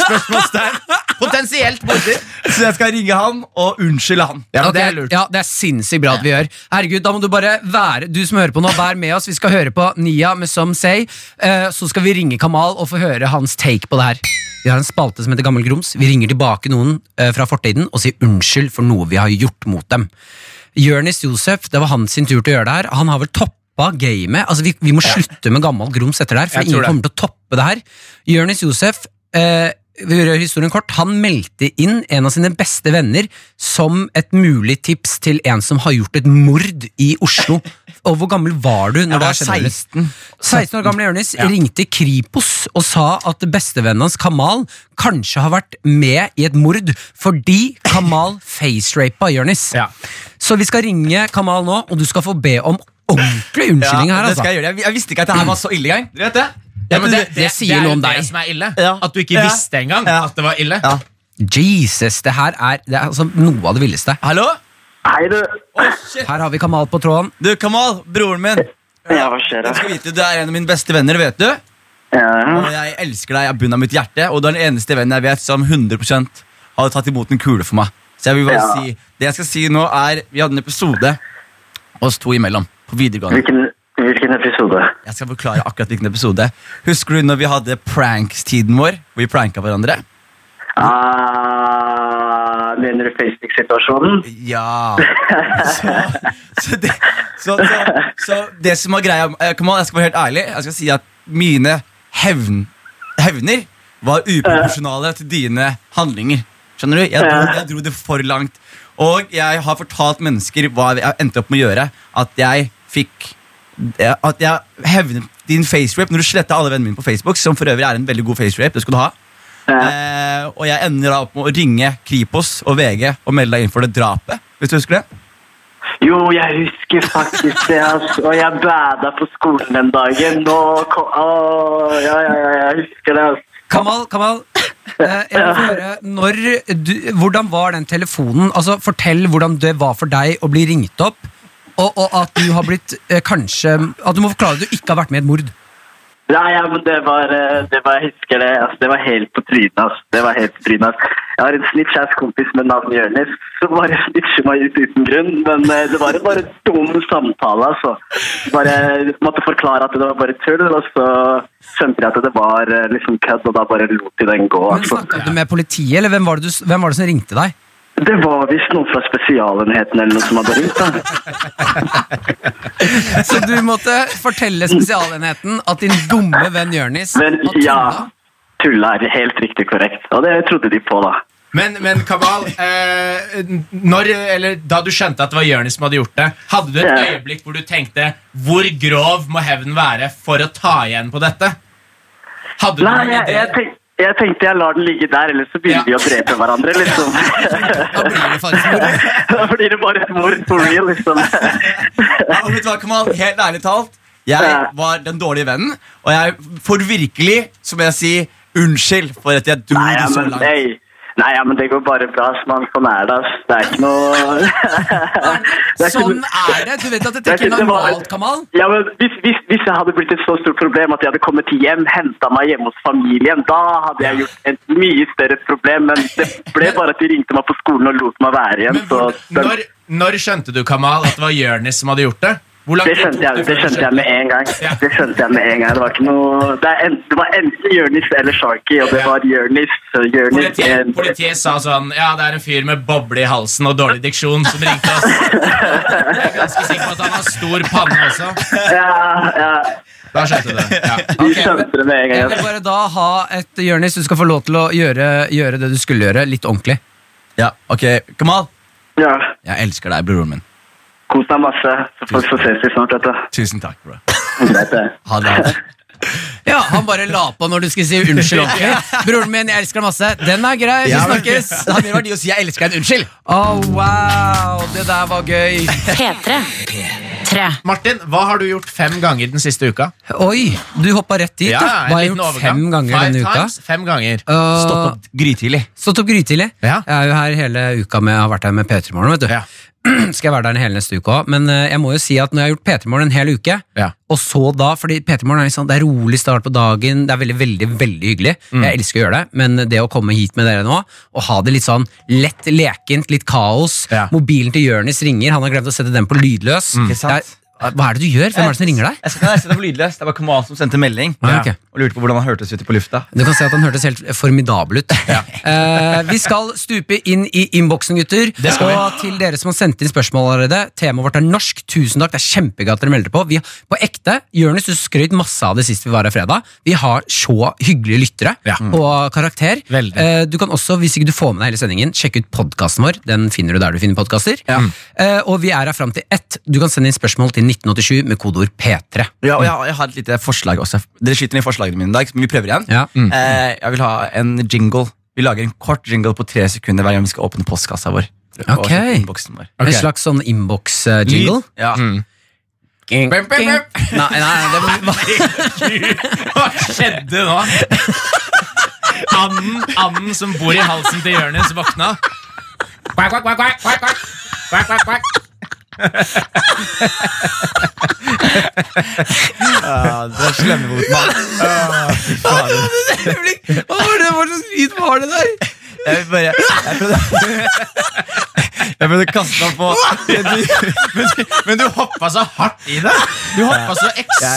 Spørsmålstegn
Potensielt morder.
Så jeg skal ringe han og unnskylde han
Ja, men
Ok,
det er lurt.
Ja, det er sinnssykt bra at vi gjør. Herregud, da må du bare være Du som hører på nå, vær med oss. Vi skal høre på Nia med Some Say. eh, Så skal vi ringe Kamal og få høre hans take på det her. Vi har en spalte som heter Gammel grums. Vi ringer tilbake noen eh, fra fortiden og sier unnskyld for noe vi har gjort mot dem. Jonis Josef, det var hans sin tur til å gjøre det her. Han har vel toppa gamet. Altså, vi, vi må slutte med gammel grums etter det her, for
Jeg
ingen
tror det.
kommer til å toppe det her. Jonis Josef, eh, vi gjør historien kort, han meldte inn en av sine beste venner som et mulig tips til en som har gjort et mord i Oslo. Og hvor gammel var du? når det
var
her skjedde, Jonis? 16 år gamle Jonis ringte Kripos og sa at bestevennen hans Kamal kanskje har vært med i et mord fordi
(laughs)
Kamal facerapa Jonis.
Ja.
Så vi skal ringe Kamal nå, og du skal få be om ordentlig unnskyldning
Ja,
her.
det skal
altså.
jeg, gjøre. Jeg, jeg visste ikke at det her var så ille engang. Dere vet det?
Ja, men
det sier
er
noe
jo
om deg.
Det som er ille.
Ja.
At du ikke
Ja.
visste engang
Ja.
at det var ille.
Ja.
Jesus, det her er, det er altså noe av det villeste.
Hallo?
Hei, du.
Her har vi Kamal på tråden.
Du, Kamal, broren min.
Ja, hva skjer
Du
da?
skal vite, du er en av mine beste venner, vet du.
Ja,
Og jeg elsker deg av bunnen av mitt hjerte, og du er den eneste vennen jeg vet som 100 har tatt imot en kule for meg. Så jeg vil bare
Ja.
si, det jeg skal si nå er, vi hadde en episode oss to imellom på videregående.
hvilken, hvilken episode?
Jeg skal forklare akkurat hvilken episode. Husker du når vi hadde pranks-tiden vår, hvor vi pranka hverandre?
Ah, mener du Facebook-situasjonen?
Ja så, så, det, så, så, så det som er greia eh, Kamal, jeg skal være helt ærlig Jeg skal si at mine hevn, hevner Var uproporsjonale til dine handlinger Skjønner du? Jeg dro, jeg dro det for langt Og jeg har fortalt mennesker Hva jeg endte opp med å gjøre At jeg fikk eh, At jeg hevnet din facerape Når du slettet alle vennene mine på Facebook Som for øvrig er en veldig god facerape Det skal du ha
Ja.
Eh, og jeg ender da opp med å ringe Kripos og VG og melde deg inn for det drapet. Hvis du husker det?
Jo, jeg husker faktisk det, ass. Og jeg bada på skolen den dagen. Nå kom... Åh, ja, ja, ja, jeg husker det, ass.
Kamal, Kamal. eh, Jeg vil få høre, når du, hvordan var den telefonen? Altså, Fortell hvordan det var for deg å bli ringt opp, og, og at du har blitt eh, kanskje At du må forklare at du ikke har vært med i et mord.
Nei, ja, men det var, eh, det var, jeg husker det, ass. Det var helt på trynet, ass. Det var helt på trynet, ass. Jeg har en snitch-ass kompis med navn Jørnis, som bare (laughs) snitcher meg ut uten grunn. Men eh, det var en bare dum samtale, altså. Bare måtte forklare at det var bare tull, og så skjønte jeg at det var eh, liksom kødd, og da bare lot de den gå,
Men
altså.
Snakka du med politiet, eller hvem var det, du, s- hvem var det som ringte deg?
Det var visst noen fra spesialenheten eller noe som hadde ringt, da.
Så du måtte fortelle Spesialenheten at din dumme venn Jonis
Men
har tulla?
ja, tulla er helt riktig korrekt. Og det trodde de på, da.
Men, men Kamal, eh, n- når, eller, da du skjønte at det var Jonis som hadde gjort det, hadde du et
Ja.
øyeblikk hvor du tenkte hvor grov må hevnen være for å ta igjen på dette? Hadde du
Nei,
noen
jeg, jeg,
ideer?
tenk, Jeg tenkte jeg lar den ligge der, ellers så begynner vi å drepe hverandre, liksom.
Da blir det faktisk moro.
da blir det bare et mord for real, liksom.
Ja, og vet du hva, Kamal? Helt ærlig talt, jeg var den dårlige vennen, og jeg får virkelig, som jeg sier, unnskyld for at jeg dro
Nei, ja,
det så
men,
langt.
hey. Nei, ja, men det går bare bra, ass, mann. Sånn er det, ass. Det er ikke noe (laughs) Det er ikke
Sånn
noe-
er det! Du vet at dette
Jeg
ikke er
synes det var-
normalt, Kamal.
Ja, men hvis, hvis, hvis jeg hadde blitt et så stort problem at jeg hadde kommet hjem, henta meg hjemme hos familien, da hadde jeg gjort et mye større problem. Men det ble bare at de ringte meg på skolen og lot meg være igjen.
Men
Så
hvor,
den,
når, når skjønte du, Kamal, at det var Jonis som hadde gjort det? Hvor lang
det,
tid
skjønte
tok
jeg,
det
det
før du
skjønte jeg med en gang.
Ja.
Det skjønte jeg med en gang. Det var ikke noe Det, er en, det var enten Jonis eller Sharky, og det
Ja.
var Jonis. så Jonis
Politiet,
eh,
politiet sa sånn Ja, det er en fyr med boble i halsen og dårlig diksjon som ringte oss. Jeg er ganske sikker på at han har stor panne også.
Ja, ja.
Da skjønte du det. Ja.
Ok,
Vi
men-
skjønte det med en
Jeg
gang.
vil bare da ha et Jonis, du skal få lov til å gjøre, gjøre det du skulle gjøre, litt ordentlig.
Ja, ok, Kamal,
Ja.
jeg elsker deg, broren min.
Kos deg masse, så, får- så ses vi snart, vet du.
Tusen takk, bro.
Greit, det.
Ha det.
Ja, Han bare la på når du skulle si unnskyld ordentlig. Broren min, jeg elsker deg masse. Den er grei, vi
Ja, men-
snakkes.
Det har mer verdi å si 'jeg elsker deg' enn 'unnskyld'.
Oh, wow, det der var gøy.
P3. 3.
Martin, hva har du gjort fem ganger den siste uka?
Oi, du hoppa rett dit. da.
en
Hva har jeg
liten
gjort
overgang.
fem ganger
Five
denne uka?
times, Fem ganger.
Uh,
Stått opp grytidlig.
Stått opp grytidlig.
Ja.
Jeg er jo her hele uka med, har vært her med P3 Morgen. vet du.
Ja.
(clears throat) Skal jeg være der en hel neste uke òg. Men eh, jeg må jo si at når jeg har gjort P3 Morgen en hel uke,
Ja.
og så da fordi P3 Morgen er litt sånn, det er rolig start på dagen, det er veldig veldig, veldig hyggelig.
Mm.
Jeg elsker å gjøre det, men det å komme hit med dere nå, og ha det litt sånn lett lekent, litt kaos
Ja. Mm.
Mobilen til Jonis ringer, han har glemt å sette den på lydløs.
Ikke sant?
Det Er, hva er det du gjør? Hvem er det
Eh,
som ringer deg?
Jeg skal ikke sette på lydløs. Det var Kamal som sendte melding
Ah, ok.
og lurte på hvordan han hørtes ute på lufta.
Du kan si at han hørtes helt formidabel ut. (laughs) Eh, vi skal stupe inn i innboksen, gutter.
skal vi.
Og til dere som har sendt inn spørsmål allerede, temaet vårt er norsk. Tusen takk, det er kjempegøy at dere melder på. Vi, på ekte, Jonis, du skrøt masse av det sist vi var her fredag. Vi har så hyggelige lyttere
Ja.
på karakter.
Veldig.
Eh, du kan også, hvis ikke du får med deg hele sendingen, sjekke ut podkasten vår. Den finner du der du finner podkaster. Eh, og vi er her fram til ett. Du kan sende inn spørsmål til 1987 med kodeord P3.
Ja, og jeg, jeg har et lite forslag også. Dere skyter ned forslagene mine i dag, men vi prøver igjen.
Ja.
Mm.
Mm.
Eh, jeg vil ha en jingle. Vi lager en kort jingle på tre sekunder hver gang vi skal åpne postkassa vår. Og
Ok.
sjekke innboksen vår.
En slags Mm. sånn innboks-jingle.
Ja.
Nei, nei, det må
Hva skjedde nå? (laughs) Anden, anden som bor i halsen til Jonis, våkna. Quack, quack, quack, quack, quack, quack. Quack, quack, quack.
Ja, det er slemme mot meg.
Hva var det, hva slags lyd var det der?
Jeg vil bare Jeg prøvde,
(laughs)
jeg prøvde å kaste meg på men du- men du-
Men du hoppa så hardt i det. Du hoppa så ekstremt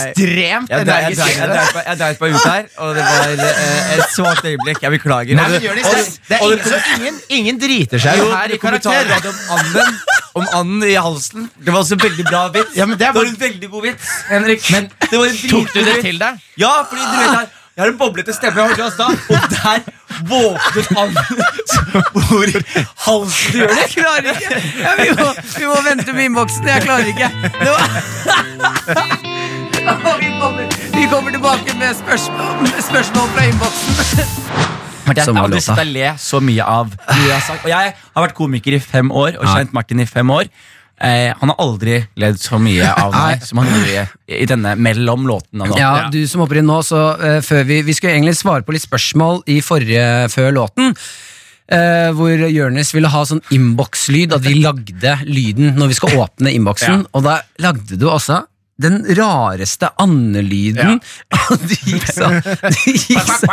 Jeg drev- jeg
energisk
drev-
i
jeg
det.
drev på- jeg drev på ut her, og det var eh, et svakt øyeblikk. Jeg beklager.
Nei,
Og
men
det-
Jonis,
og
det, det er
og
ingen, så ingen, ingen driter seg
Jo,
ut her i
kommentarer
karakter.
hadde om anden, om anden i halsen. Det var også en veldig bra vits.
Ja, men det er
var
bare-
en veldig god vits, Henrik.
Men
det var en
Tok du
dritgod
det
vits.
til deg?
Ja, fordi du vet her, jeg har en boblete stemme, jeg hørte hans da, og der våknet
(laughs)
anden som bor i halsen til Jonis.
Jeg klarer ikke. Ja, vi, må, vi må vente med innboksen. Jeg klarer ikke. Det var... Å, Vi kommer, (laughs) vi kommer tilbake med spørsmål, med spørsmål fra innboksen.
Martin,
Som var
jeg har aldri
låta.
sett deg le så mye av mye jeg har sagt. Og jeg har vært komiker i fem år og kjent Martin i fem år. Eh, han har aldri ledd så mye av meg som han gjorde i, i denne mellom låtene. nå.
Ja, du som hopper inn nå, så eh, før vi, vi skulle egentlig svare på litt spørsmål i forrige, før låten. eh, hvor Jonis ville ha sånn innbokslyd, at vi lagde lyden når vi skal åpne innboksen. Og da lagde du altså den rareste andelyden. (laughs) Og det gikk sånn Det gikk så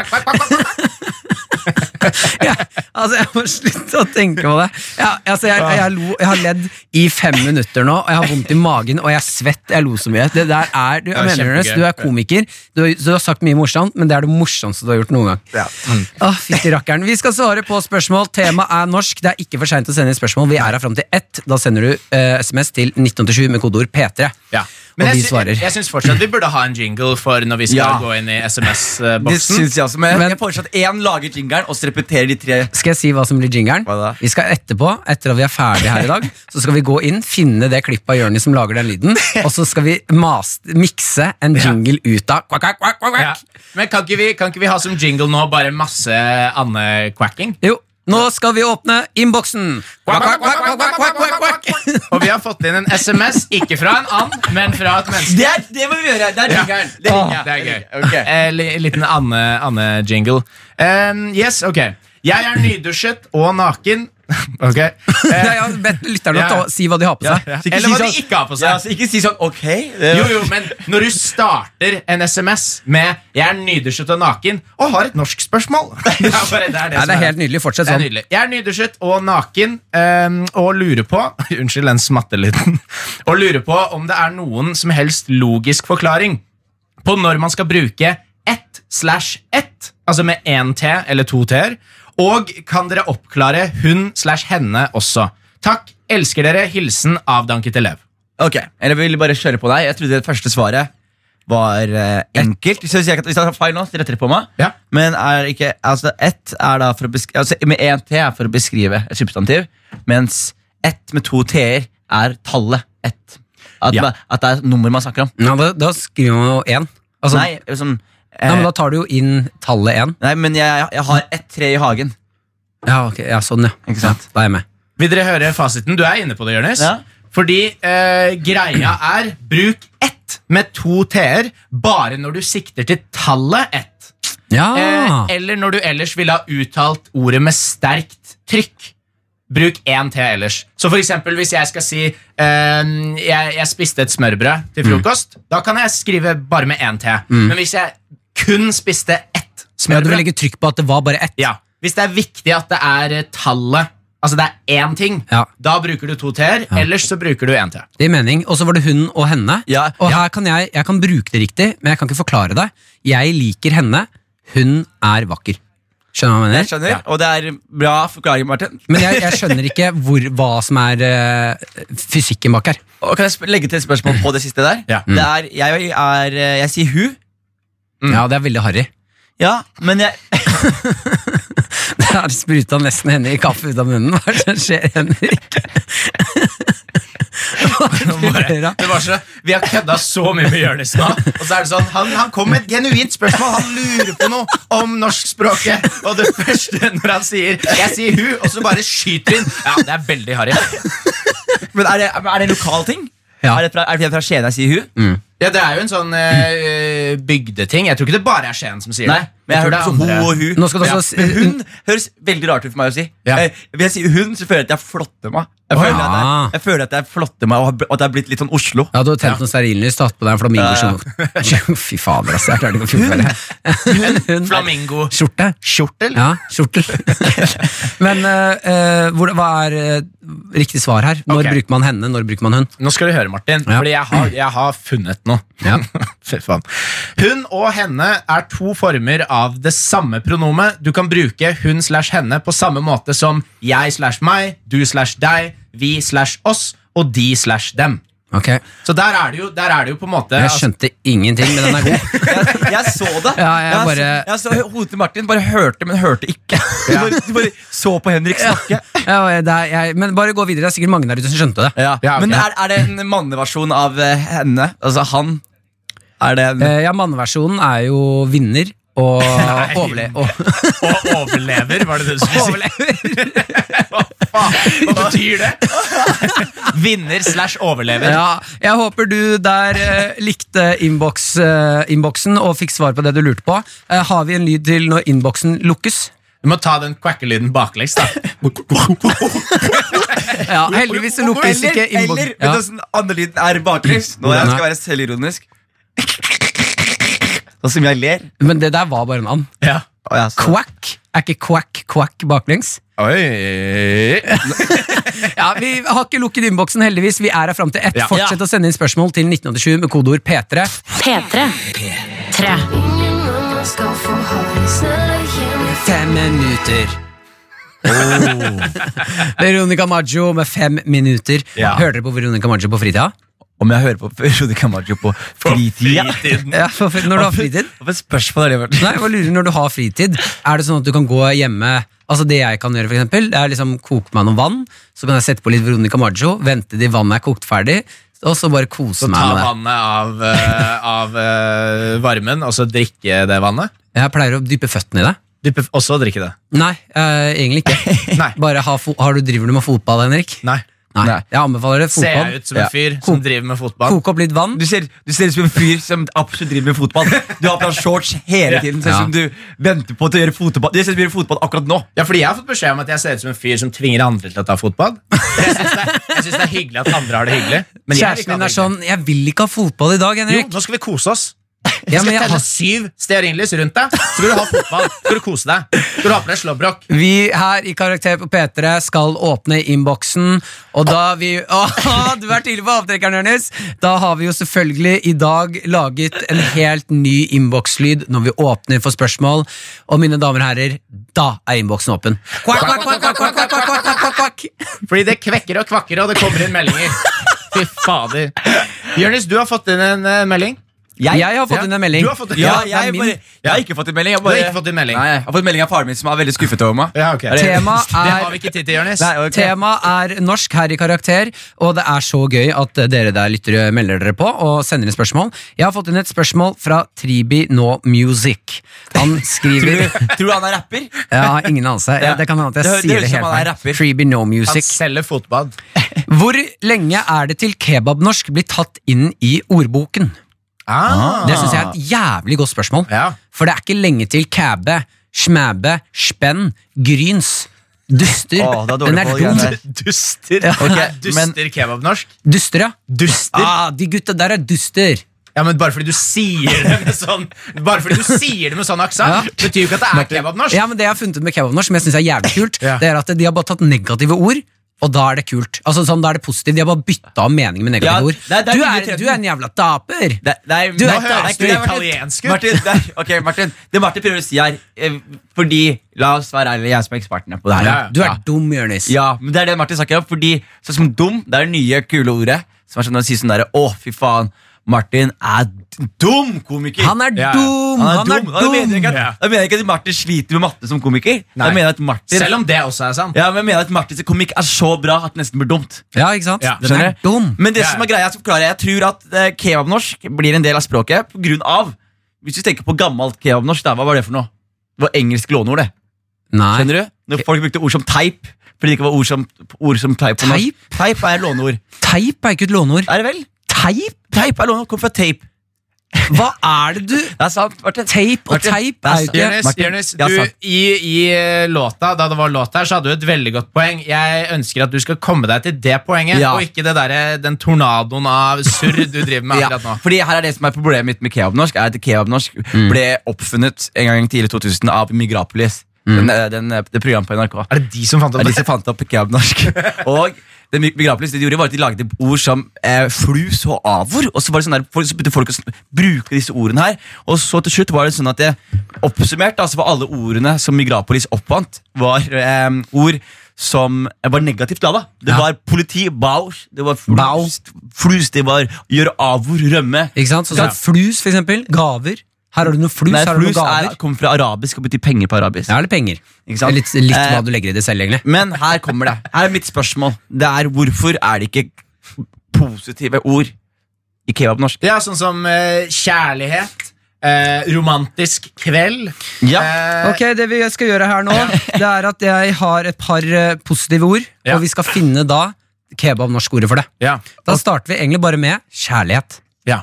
ja, altså Jeg må slutte å tenke på det. Ja, altså jeg, jeg, lo, jeg har ledd i fem minutter nå, og jeg har vondt i magen og jeg er svett. Jeg lo så mye. Det der er, du, jeg mener,
kjempegøy.
Jonas, du er komiker, du, har- du har sagt mye morsomt, men det er det morsomste du har gjort noen gang.
Mm.
Å, fytti rakkeren. Vi skal svare på spørsmål. Temaet er norsk. Det er ikke for seint å sende inn spørsmål. Vi er her fram til ett. Da sender du eh, SMS til 1987 med kodeord P3.
Ja. Men
og
jeg
vi
sy-
svarer.
Jeg syns fortsatt vi burde ha en jingle for når vi skal
Ja.
gå inn i
Det
SMS-boksen.
syns jeg også, men,
Men-
jeg foreslår at én lager jingeren, og så repeterer de tre.
Skal jeg si hva som blir jingeren?
Hva da?
Vi skal etterpå, etter at vi er ferdige her i (laughs) dag, så skal vi gå inn, finne det klippet av Jørnis som lager den lyden, og så skal vi mas- mikse en jingle ut av kvakk, kvakk, kvakk, kvakk,
Ja.
kvakk.
Men kan ikke, vi, kan ikke vi ha som jingle nå bare masse Anne-quacking?
Jo, nå skal vi åpne innboksen! Kvakk, kvakk, kvakk, kvakk, kvakk, kvakk, kvakk, (laughs) kvakk.
Og vi har fått inn en SMS, ikke fra en and, men fra et menneske.
Det, er, det må vi gjøre! Det er jingeren.
Det,
Det liker
liker jeg.
jeg.
det er gøy.
Ok.
Eh, li- liten Anne- Anne-jingle. Ehm, yes, ok. Jeg er nydusjet og naken. (laughs) Ok. Eh,
Nei, jeg har bedt lytterne om å
Ja.
ta- si hva de har på
ja,
seg.
ja.
Så ikke
Eller
si
hva de
sånn-
ikke har på
Ja,
seg.
så ikke si sånn ok. det-
Jo, jo, men når du starter en SMS med 'Jeg er nydusjet og naken' og har et norsk spørsmål Det er, bare, det er, det
Nei,
som
det er helt nydelig. Fortsett
Det er
sånn.
nydelig. Jeg er nydusjet og naken ehm, og lurer på (laughs) Unnskyld den smattelyden. Og lurer på om det er noen som helst logisk forklaring på når man skal bruke ett slash ett, altså med én T eller to T-er. Og kan dere oppklare hun slash henne også? Takk. Elsker dere. Hilsen avdanket elev.
Ok, eller vil bare kjøre på deg Jeg trodde det første svaret var eh, enkelt Hvis jeg, hvis jeg tar feil nå, så retter det på meg
Ja.
Men er ikke, altså ett er da for å beskrive altså, Med en T er for å beskrive et substantiv Mens ett med to T-er er tallet ett at,
Ja.
ma- at det er et nummer man snakker om
Nei, da, da skriver man jo én. Altså, nei,
Nei, liksom, eh,
men da tar du jo inn tallet én.
nei, men jeg, jeg har ett tre i hagen
Ja, ok, ja, sånn, ja.
Ikke sant?
Da er jeg med.
Vil dere høre fasiten? Du er inne på det, Jonis.
Ja.
Fordi eh, greia er bruk ett med to t-er bare når du sikter til tallet ett.
Ja.
Ah.
Eh, eller når du ellers ville ha uttalt ordet med sterkt trykk. Bruk én T ellers. Så for eksempel hvis jeg skal si ehm, jeg, jeg spiste et smørbrød til frokost, da kan jeg skrive bare med én T. Men hvis jeg kun spiste ett
ja, du vil
smørbrød
legge trykk på at det var bare ett.
ja. Hvis det er viktig at det er eh, tallet, altså det er én ting,
Ja.
da bruker du to T-er. Ellers så bruker du én T.
Det gir mening. Og så var det hun og henne.
Ja,
og her kan jeg, jeg kan bruke det riktig, men jeg kan ikke forklare det. Jeg liker henne. Hun er vakker. Skjønner du hva jeg
Jeg
mener?
skjønner, og det er bra forklaring, Martin
Men jeg, jeg skjønner ikke hvor, hva som er eh, fysikken bak her.
Og kan jeg sp- legge til et spørsmål på det siste der?
Ja.
Det er, jeg, er, eh, jeg sier hu
Ja, det er veldig (laughs) harry.
Ja, men jeg, (laughs)
Der spruta nesten Henrik kaffe ut av munnen. Hva er det som skjer, Henrik? Hva er det du ler av?
Det var så, vi har kødda så mye med Jonis nå. Og så er det sånn, han, han kom med et genuint spørsmål. Han lurer på noe om norskspråket. Og det første når han sier 'jeg sier hu', og så bare skyter inn. Ja, det er veldig harry.
Men er det, er det en lokal ting?
Ja. Mm.
Er det fra, er det fra Skien jeg sier hu?
Ja, det er jo en sånn eh, bygdeting. Jeg tror ikke det bare er Skien som sier
Nei,
det.
men jeg,
tror
hørte
det er
også
andre.
ho og hu
Nå skal du også
Men
si-
hun høres veldig rart ut for meg å si
Ja.
eh, Hvis jeg sier hun, så føler jeg at jeg flotter meg Jeg føler,
ja.
at, jeg, jeg føler at jeg flotter meg Og har bl- og at jeg har blitt litt sånn Oslo
Ja, du har tent noen stearinlys, tatt på deg en flamingo
Ja,
(laughs)
Fy fader, altså. Jeg klarte ikke å fjortere. Hun.
Flamingo.
Skjorte.
Skjortel?
(laughs) Ja, kjortel. (laughs) Men eh, eh, hvor, hva er eh, riktig svar her? Når
Ok.
bruker man henne, når bruker man hun?
Nå skal du høre, Martin,
Ja.
fordi jeg har, jeg har funnet noe.
Ja.
(laughs) Fy faen. Hun og henne er to former av det samme pronomet. Du kan bruke hun slash henne på samme måte som jeg slash meg, du slash deg, vi slash oss og de slash dem.
Ok,
Så der er det jo, der er det jo på en måte
Jeg
altså-
skjønte ingenting, men den er
(laughs)
god.
Jeg, jeg så det
(laughs) Ja, jeg
så-
bare-
jeg så hodet til Martin, bare hørte, men hørte ikke Du bare, du bare så på
(laughs)
Henrik snakke
Ja, det er, jeg, men bare gå videre. Det er sikkert mange der ute som skjønte det.
ja.
Ja, ok.
Men er, er det en manneversjon av eh, henne? Altså han Er det en
Eh, ja, Manneversjonen er jo vinner
(laughs)
og overle og
(laughs) Og overlever, var det det du
overlever.
(laughs) Hva faen, hva betyr det? Vinner slash overlever.
Ja, jeg håper du der eh, likte innboks, eh, innboksen og fikk svar på det du lurte på. Eh, har vi en lyd til når innboksen lukkes?
Du må ta den quackelyden baklengs,
(laughs)
da.
Ja, heldigvis så lukkes ikke
Eller,
innboksen.
eller vet du hvordan andre lyden er baklengs? Nå jeg
Hvordan
skal være selvironisk. Sånn som jeg ler.
Men det der var bare en and.
Ja.
Å, ja, så-
Quack. Er ikke quack quack baklengs?
Oi.
Ja, Vi har ikke lukket innboksen, heldigvis. Vi er her fram til ett.
Ja.
Fortsett å sende inn spørsmål til 1987 med kodeord P3.
P3. P3.
Fem minutter. (laughs) Veronica Maggio med fem minutter.
Ja.
Hører dere på Veronica Maggio på fritida?
om jeg hører på (laughs) Frode Camacho på fritida.
Ja, for, for, (laughs) når du har fritid?
Hva slags spørsmål har det vært?
Nei, jeg bare lurer når du har fritid Er det sånn at du kan gå hjemme Altså det jeg kan gjøre for eksempel Det er liksom koke meg noen vann Så kan jeg sette på litt Veronica Maggio Vente til vannet er kokt ferdig Og så bare kose
Så
meg
ta
med det
vannet av, eh, av eh, varmen, og så drikke det vannet?
Jeg pleier å dype føttene i det
Dyppe, også drikke det?
Nei, eh, egentlig ikke
Nei.
(laughs) Bare ha fo- har du, driver du med fotball, Henrik?
Nei.
Nei,
Nei.
jeg anbefaler det
Ser
fotball
jeg ut som en fyr som driver med fotball?
Koke opp litt vann
Du ser, du ser ut som en fyr som absolutt driver med fotball. Du har på deg shorts hele tiden, sånn
Ja.
som du venter på til å gjøre fotball. Du ser ut som du gjør fotball akkurat nå.
Ja, fordi Jeg har fått beskjed om at jeg ser ut som en fyr som tvinger andre til å ta fotball. Jeg syns det, jeg synes det er hyggelig at andre har det hyggelig. Men jeg vil ikke
Kjæresten
ha
din
det
er sånn Jeg vil ikke ha fotball i dag,
hyggelig.
Henrik
Jo, nå skal vi kose oss. Vi
Ja,
skal
men jeg
telle
har
syv stearinlys rundt deg, så skal du ha fotball. Så skal du kose deg. Så skal du ha på deg slåbrok.
Vi her i Karakter på P3 skal åpne innboksen, og da vi Åh, du er tidlig på avtrekkeren, Jonis! Da har vi jo selvfølgelig i dag laget en helt ny innbokslyd når vi åpner for spørsmål. Og mine damer og herrer, da er innboksen åpen. Kvakk, kvakk, kvakk, kvakk, kvakk, kvakk, kvakk, kvakk, kvakk, kvakk.
Fordi det kvekker og kvakker, og det kommer inn meldinger. Fy fader. Jonis, du har fått inn en eh, melding.
Jeg har fått inn en melding.
Du har fått en-
Ja,
det er
jeg,
min.
bare, jeg har ikke fått en melding. Jeg
Du
bare,
har ikke fått inn melding.
Nei, jeg har fått melding av faren min, som er veldig skuffet over meg.
Ja, ok.
Er det-
Tema
Det
er
har vi ikke tid til, Jonis.
Nei, ok.
Tema er norsk her i karakter, og det er så gøy at dere der lyttere melder dere på og sender inn spørsmål. Jeg har fått inn et spørsmål fra Tribi No Music. Han skriver
Tror du- Tror du han er rapper?
Jeg har ingen anelse. Ja, det kan hende at
Det
jeg
hø- det
sier
høres
det
ut
helt
som han
feil.
er rapper.
Tribi No
Han
Music.
selger fotbad.
Hvor lenge er det til kebabnorsk blir tatt inn i ordboken?
Ah.
Det syns jeg er et jævlig godt spørsmål.
Ja.
For det er ikke lenge til kæbe, smæbe, spenn, gryns, duster.
Åh, det er dårlig
Den er
på de
dum.
greiene der.
Duster.
men-
Duster kebabnorsk.
Duster, ja.
Duster?
Ah, de gutta der er duster.
Ja, men Bare fordi du sier det med sånn Bare fordi du sier det med sånn aksent, betyr jo ikke at det er kebabnorsk.
Ja, men Det jeg har funnet ut med kebabnorsk, som jeg synes er jævlig kult,
Ja.
Det er at de har bare tatt negative ord. Og da er det kult. Altså sånn, da er det positivt De har bare bytta av mening med negative
Ja,
ord.
det er- det er
du,
mye
er,
trøtten.
du er en jævla taper!
Det- Nei,
Du
nå
er-
høres
er
du
ikke
Martin.
italiensk ut.
Martin, det er- ok, Martin, det Martin prøver å si her eh, Fordi, la oss være ærlige, jeg som er ekspertene på det her
Ja,
Du er dum, Jonis.
Ja, men det er det Martin snakker om. Fordi sånn som dum, det er det nye, kule ordet. Som er sånn å si sånn derre Å, fy faen. Martin er d- dum komiker.
Han er
Ja, ja.
dum! Han er
Da mener jeg
dum!
ikke at, da mener jeg ikke at Martin sliter med matte som komiker. Da
Nei.
mener jeg at Martin
Selv om det også er sant.
ja, men jeg mener at Martins komikk er så bra at det nesten blir dumt.
Ja, ikke sant?
Ja,
Den er
Skjønner du?
dum.
Men det
Ja, ja.
som er greia, jeg skal forklare, jeg tror at eh, kebabnorsk blir en del av språket på grunn av Hvis du tenker på gammelt kebabnorsk, da, hva var det for noe? Det var engelsk låneord, det.
Nei.
Skjønner du? Når folk brukte ord som teip fordi det ikke var ord som, ord som teip på norsk.
Teip?
Teip er låneord.
Teip er ikke et låneord.
Er det vel?
Teip?
Teip er låneord. Kom fra tape.
Hva er det du
Det er sant. Martin.
Tape og
Martin,
teip
det
er jo
er sant.
ikke
Jonis,
Martin,
Jonis,
ja,
du,
sant.
i, i eh, låta, da det var låt her, så hadde du et veldig godt poeng. Jeg ønsker at du skal komme deg til det poenget,
Ja.
og ikke det der, den tornadoen av surr du driver med
(laughs) Ja,
akkurat nå.
fordi her er det som er Problemet mitt med kebabnorsk er at kebabnorsk
Mm.
ble oppfunnet en gang tidlig i 2000 av Migrapolis.
Mm.
Den, eh, den, eh, det programmet på NRK.
Er det de som fant
Det
opp
er de
det?
som fant opp
(laughs)
kebabnorsk. Og det Mi- Migrapolis det de gjorde var at de lagde ord som eh, flus og avor. Og så var det sånn der, folk, så begynte folk å sn- bruke disse ordene her. Og så til slutt var det sånn at det oppsummert da, så var alle ordene som Migrapolis oppvant, var eh, ord som var negativt lada. Det
Ja.
var politi, baus, det var flus,
Baus.
flus det var gjøre avor, rømme.
Ikke sant? Sånn som
Ja.
flus, for eksempel. Gaver. Her har du noe flus,
Nei,
her har du noe
flus er,
gaver.
kommer fra arabisk og betyr penger på arabisk.
Ja, eller penger.
Ikke sant?
Litt, litt hva
Eh,
du legger i det selv, egentlig.
Men her kommer det. Her er mitt spørsmål. Det er Hvorfor er det ikke positive ord i kebabnorsk?
Ja, sånn som eh, kjærlighet, eh, romantisk kveld eh,
Ok, Det vi skal gjøre her
(laughs)
nå, det er at jeg har et par eh, positive ord,
Ja.
og vi skal finne da kebab-norsk-ordet for det.
(laughs) Ja.
Da starter vi egentlig bare med kjærlighet.
ja.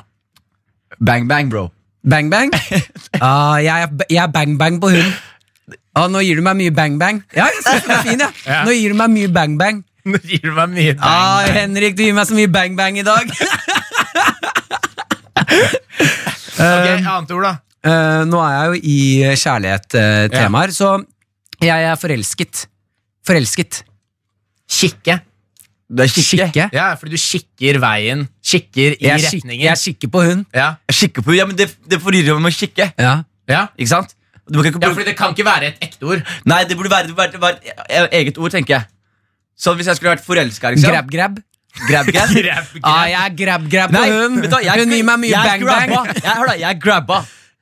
Bang, bang, bro.
(laughs)
Bang-bang. Ah, jeg er- jeg er bang-bang på hun. Ah, nå gir du meg mye bang-bang. Ja, jeg synes den er fin, jeg.
(laughs) Ja.
Nå gir du meg mye bang-bang.
Nå gir du meg mye bang.
Ah, Henrik, du gir meg så mye bang-bang i
(laughs)
dag.
Ok, annet ord, da.
Eh, nå er jeg jo i eh, kjærlighet-temaer, så jeg er forelsket. Forelsket.
Kikke.
Det er kikke.
Kikke.
Ja, fordi du kikker veien. Kikker i
Jeg, er kik-
retningen.
jeg kikker på hun.
ja.
Kikke på, ja, men det, det forvirrer meg med å kikke.
Ja.
Ja.
Ikke sant? Du kan ikke
ja,
bruke-
fordi det kan ikke være et ekte (laughs) ord.
Sånn, Nei, det burde være, det burde være, det burde være et eget ord, tenker jeg. Så hvis jeg skulle vært forelska liksom.
Grab-grab.
(laughs) Grabgas.
Ah, jeg grab-grab på
Nei,
hun.
vet du hva, jeg-
Hun gir meg mye
jeg
bang-bang.
grabba. Jeg, hør da, jeg grabba.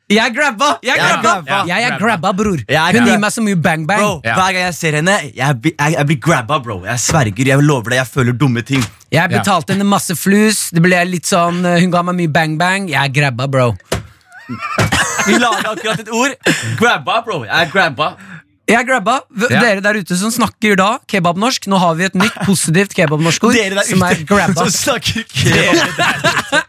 Jeg grabba! Jeg
(laughs) Jeg
grabba,
grabba.
jeg er grabba bror.
Jeg
Hun
grabba.
gir meg så mye bang-bang.
Bro, Hver gang jeg ser henne, jeg, blir- jeg, jeg blir grabba, bro. Jeg sverger, jeg lover deg, jeg føler dumme ting.
Jeg betalte henne masse flus. Det ble litt sånn, eh, Hun ga meg mye bang-bang. Jeg er grabba, bro.
Vi lager akkurat et ord. Grabba, bro. Jeg er grabba.
Jeg er grabba. V-
Ja.
Dere der ute som snakker da kebabnorsk, nå har vi et nytt positivt kebabnorskord
(laughs) Dere der
som er
ute
grabba.
som snakker kebab.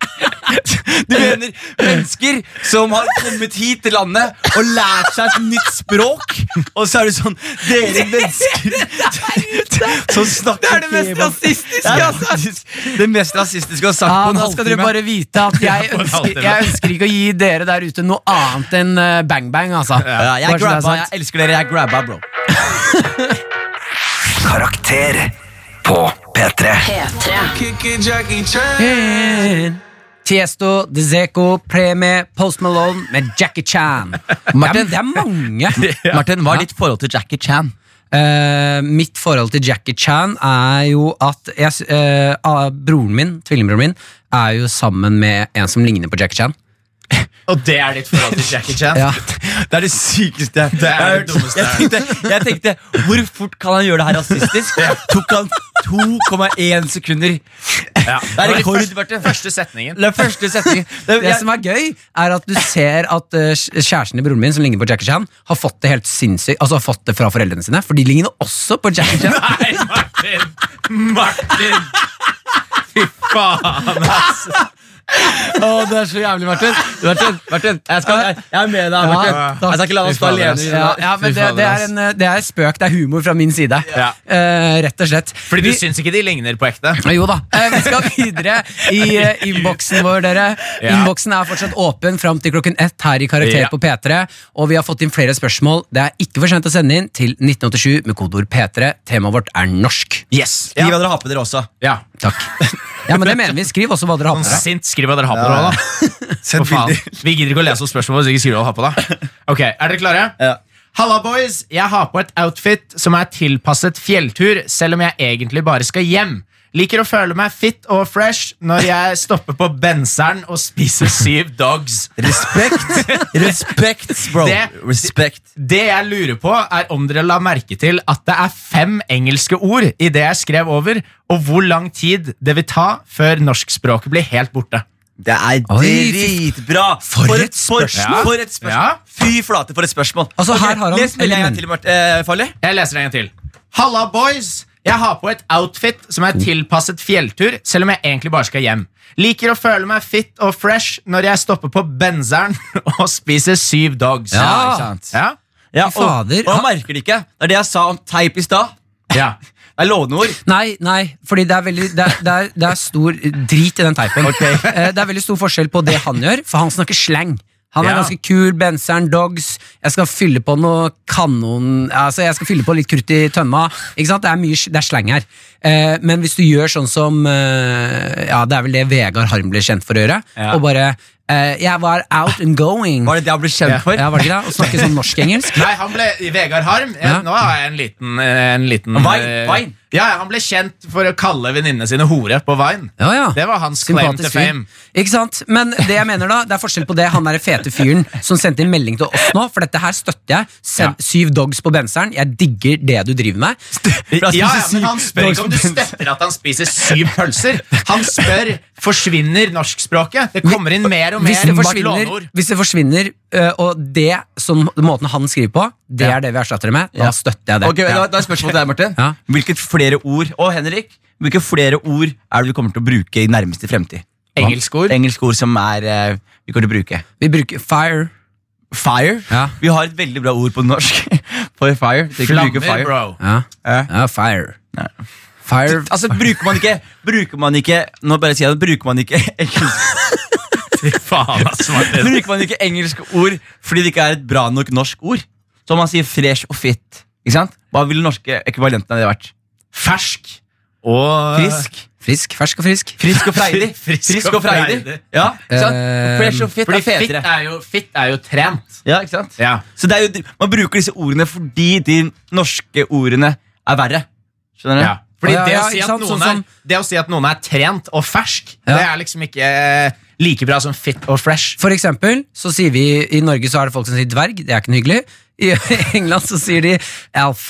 Du mener mennesker som har kommet hit til landet og lært seg et nytt språk, og så er det sånn Dere
(laughs)
mennesker som snakker
Det er det mest
kebab.
rasistiske,
Det er
altså.
faktisk Det mest rasistiske jeg har sagt
Ja,
på en
nå skal dere
halvtime.
bare vite at jeg
Ja, på en
ønsker,
halvtime.
jeg ønsker ikke å gi dere der ute noe annet enn eh, bang-bang, altså.
Ja,
Bare så det
jeg,
er
grabba,
sagt.
jeg elsker dere. Jeg grabba, bro.
Karakter på P3.
P3.
Tiesto, Dzeko, Premie, Post Malone med Jackie Chan. Martin, det er
(laughs)
mange.
Martin,
Ja.
hva er ditt forhold til Jackie Chan?
Eh, mitt forhold til Jackie Chan er jo at jeg, s- eh, ah, broren min, tvillingbroren min, er jo sammen med en som ligner på Jackie Chan.
Og det er ditt forhold til Jackie Chan?
Ja.
Det er det sykeste jeg-
Det er det
jeg har hørt.
dummeste jeg
jeg
har
tenkte, jeg tenkte, hvor fort kan han gjøre det her rasistisk? Tok han 2,1 sekunder.
Ja.
Det er rekord.
Første- Første, første setningen.
Den første setningen. Det,
Det
jeg,
som er gøy, er at du ser at eh, kj- kjæresten til broren min, som ligner på Jackie Chan, har fått det helt sinnssykt Altså har fått det fra foreldrene sine, for de ligner også på Jackie Chan.
(laughs) Nei, Martin! Martin! Fy faen, ass.
å, det er så jævlig, Martin. Martin, Martin jeg, skal, jeg, jeg er med deg, Martin.
Ja,
Jeg skal ikke la deg stå
Fy fader,
alene.
ass.
i
Ja,
det.
ja, men det, det, er en, eh, det er spøk, det er humor fra min side.
Ja.
Eh, rett og slett.
Fordi du
Vi-
syns ikke de ligner på ekte?
Ja, Jo da. Eh, Vi skal videre i eh, innboksen vår, dere.
Ja.
Innboksen er fortsatt åpen fram til klokken ett her i Karakter
Ja.
på P3. Og vi har fått inn flere spørsmål. Det er ikke for sent å sende inn til 1987 med kodeord P3. Temaet vårt er norsk.
Yes.
Gi
Ja.
hva dere har på dere også.
ja. (laughs)
Takk. Ja, men det mener vi. Skriv også hva dere har
Sånn
på dere.
sint skriv hva dere har på dere. da. For faen. Vi gidder ikke å lese opp spørsmål hvis ikke skriver hva dere har på deg. Ok, Er dere klare?
Ja.
Halla, boys! Jeg har på et outfit som er tilpasset fjelltur, selv om jeg egentlig bare skal hjem. Liker å føle meg fit og fresh når jeg stopper på benseren og spiser syv dogs.
Respekt. Respekt, bro.
Det-
Respekt.
Det jeg lurer på, er om dere la merke til at det er fem engelske ord i det jeg skrev over, og hvor lang tid det vil ta før norskspråket blir helt borte.
Det er
Oi,
dritbra!
for et
spørsmål.
For et spørsmål.
Ja.
Fy flate, for et spørsmål.
Altså, her har han
les meldingen
element.
til, Mart- eh, Farley.
Jeg leser en gang til. Halla, boys! Jeg har på et outfit som er tilpasset fjelltur, selv om jeg egentlig bare skal hjem. Liker å føle meg fit og fresh når jeg stopper på benseren (laughs) og spiser syv dogs.
Ja,
ikke sant.
Ja?
Ja,
Fy fader.
Og, og han merker det ikke. Det er det jeg sa om teip i stad.
Ja.
Det er låneord.
Nei, nei, fordi det er, veldig, det, er, det, er, det er stor drit i den teipen. Eh, Det er veldig stor forskjell på det han gjør, for han snakker slang. Han er
Ja.
ganske kul, benseren, dogs. Jeg skal fylle på noe kanon Altså, jeg skal fylle på litt krutt i tønna. Ikke sant? Det er mye det er slang her. Eh, Men hvis du gjør sånn som eh, Ja, det er vel det Vegard Harm ble kjent for å gjøre.
Ja.
Og bare eh, Jeg var out and going.
Var det det han ble kjent for?
Ja, var det ikke det? Og snakke sånn norsk-engelsk.
Nei, han ble Vegard Harm. eh,
Ja.
Nå har jeg en liten, eh, en liten
Vine,
eh,
Vine.
Ja, ja, Han ble kjent for å kalle venninnene sine hore på Vine.
Ja, ja.
Det var hans claim to
Sympatisk fyr.
fame.
Ikke sant? Men det jeg mener da, det er forskjell på det han der fete fyren som sendte inn melding til oss nå, for dette her støtter jeg. Send, Syv dogs på benseren. Jeg digger det du driver med.
Ja, ja, men Han spør ikke om du støtter at han spiser syv pølser. Han spør forsvinner norskspråket. Det kommer inn mer og
Hvis
mer
det
låneord.
forsvinner, hvis det forsvinner øh, og det som måten han skriver på, det er det vi erstatter det med, da
Ja.
støtter jeg det.
Ok, da, da er spørsmålet til deg, Martin.
Ja.
Hvilket flere ord og Henrik, hvilke flere ord er det vi kommer til å bruke i nærmeste fremtid?
Engelske ord.
Engelske ord som er, eh, vi kommer til å bruke.
Vi bruker fire.
Fire.
Ja.
Vi har et veldig bra ord på norsk. (laughs) For fire. Vi kan bruke
Flammer,
fire.
bro.
Ja,
Ja.
ja fire. Fire
Altså, bruker man ikke Bruker man ikke Nå bare sier jeg det. Bruker man ikke (laughs) engelsk
Fy faen, ass, Martin.
bruker man ikke engelske ord fordi det ikke er et bra nok norsk ord. Så man sier fresh og fit. Ikke sant? Hva ville den norske ekvivalenten av det vært?
Fersk og
Frisk.
frisk. Fersk og frisk.
Frisk og freidig.
Frisk
(laughs) Frisk
og
og freidig.
freidig.
Ja, ikke sant?
Eh,
Fresh og fit
Fordi
er
fit
fetere.
er, jo, fit er jo trent.
Ja, ikke sant?
Ja.
Så det er jo, man bruker disse ordene fordi de norske ordene er verre. Skjønner du?
Ja. Fordi
Ja,
det,
ja,
å si
ikke
at
sant?
noen
Sånn som-
er, det å si at noen er trent og fersk,
Ja.
det er liksom ikke eh, like bra som fit og fresh.
For eksempel så sier vi i Norge så er det folk som sier dverg, det er ikke noe hyggelig. I (laughs) England så sier de elf.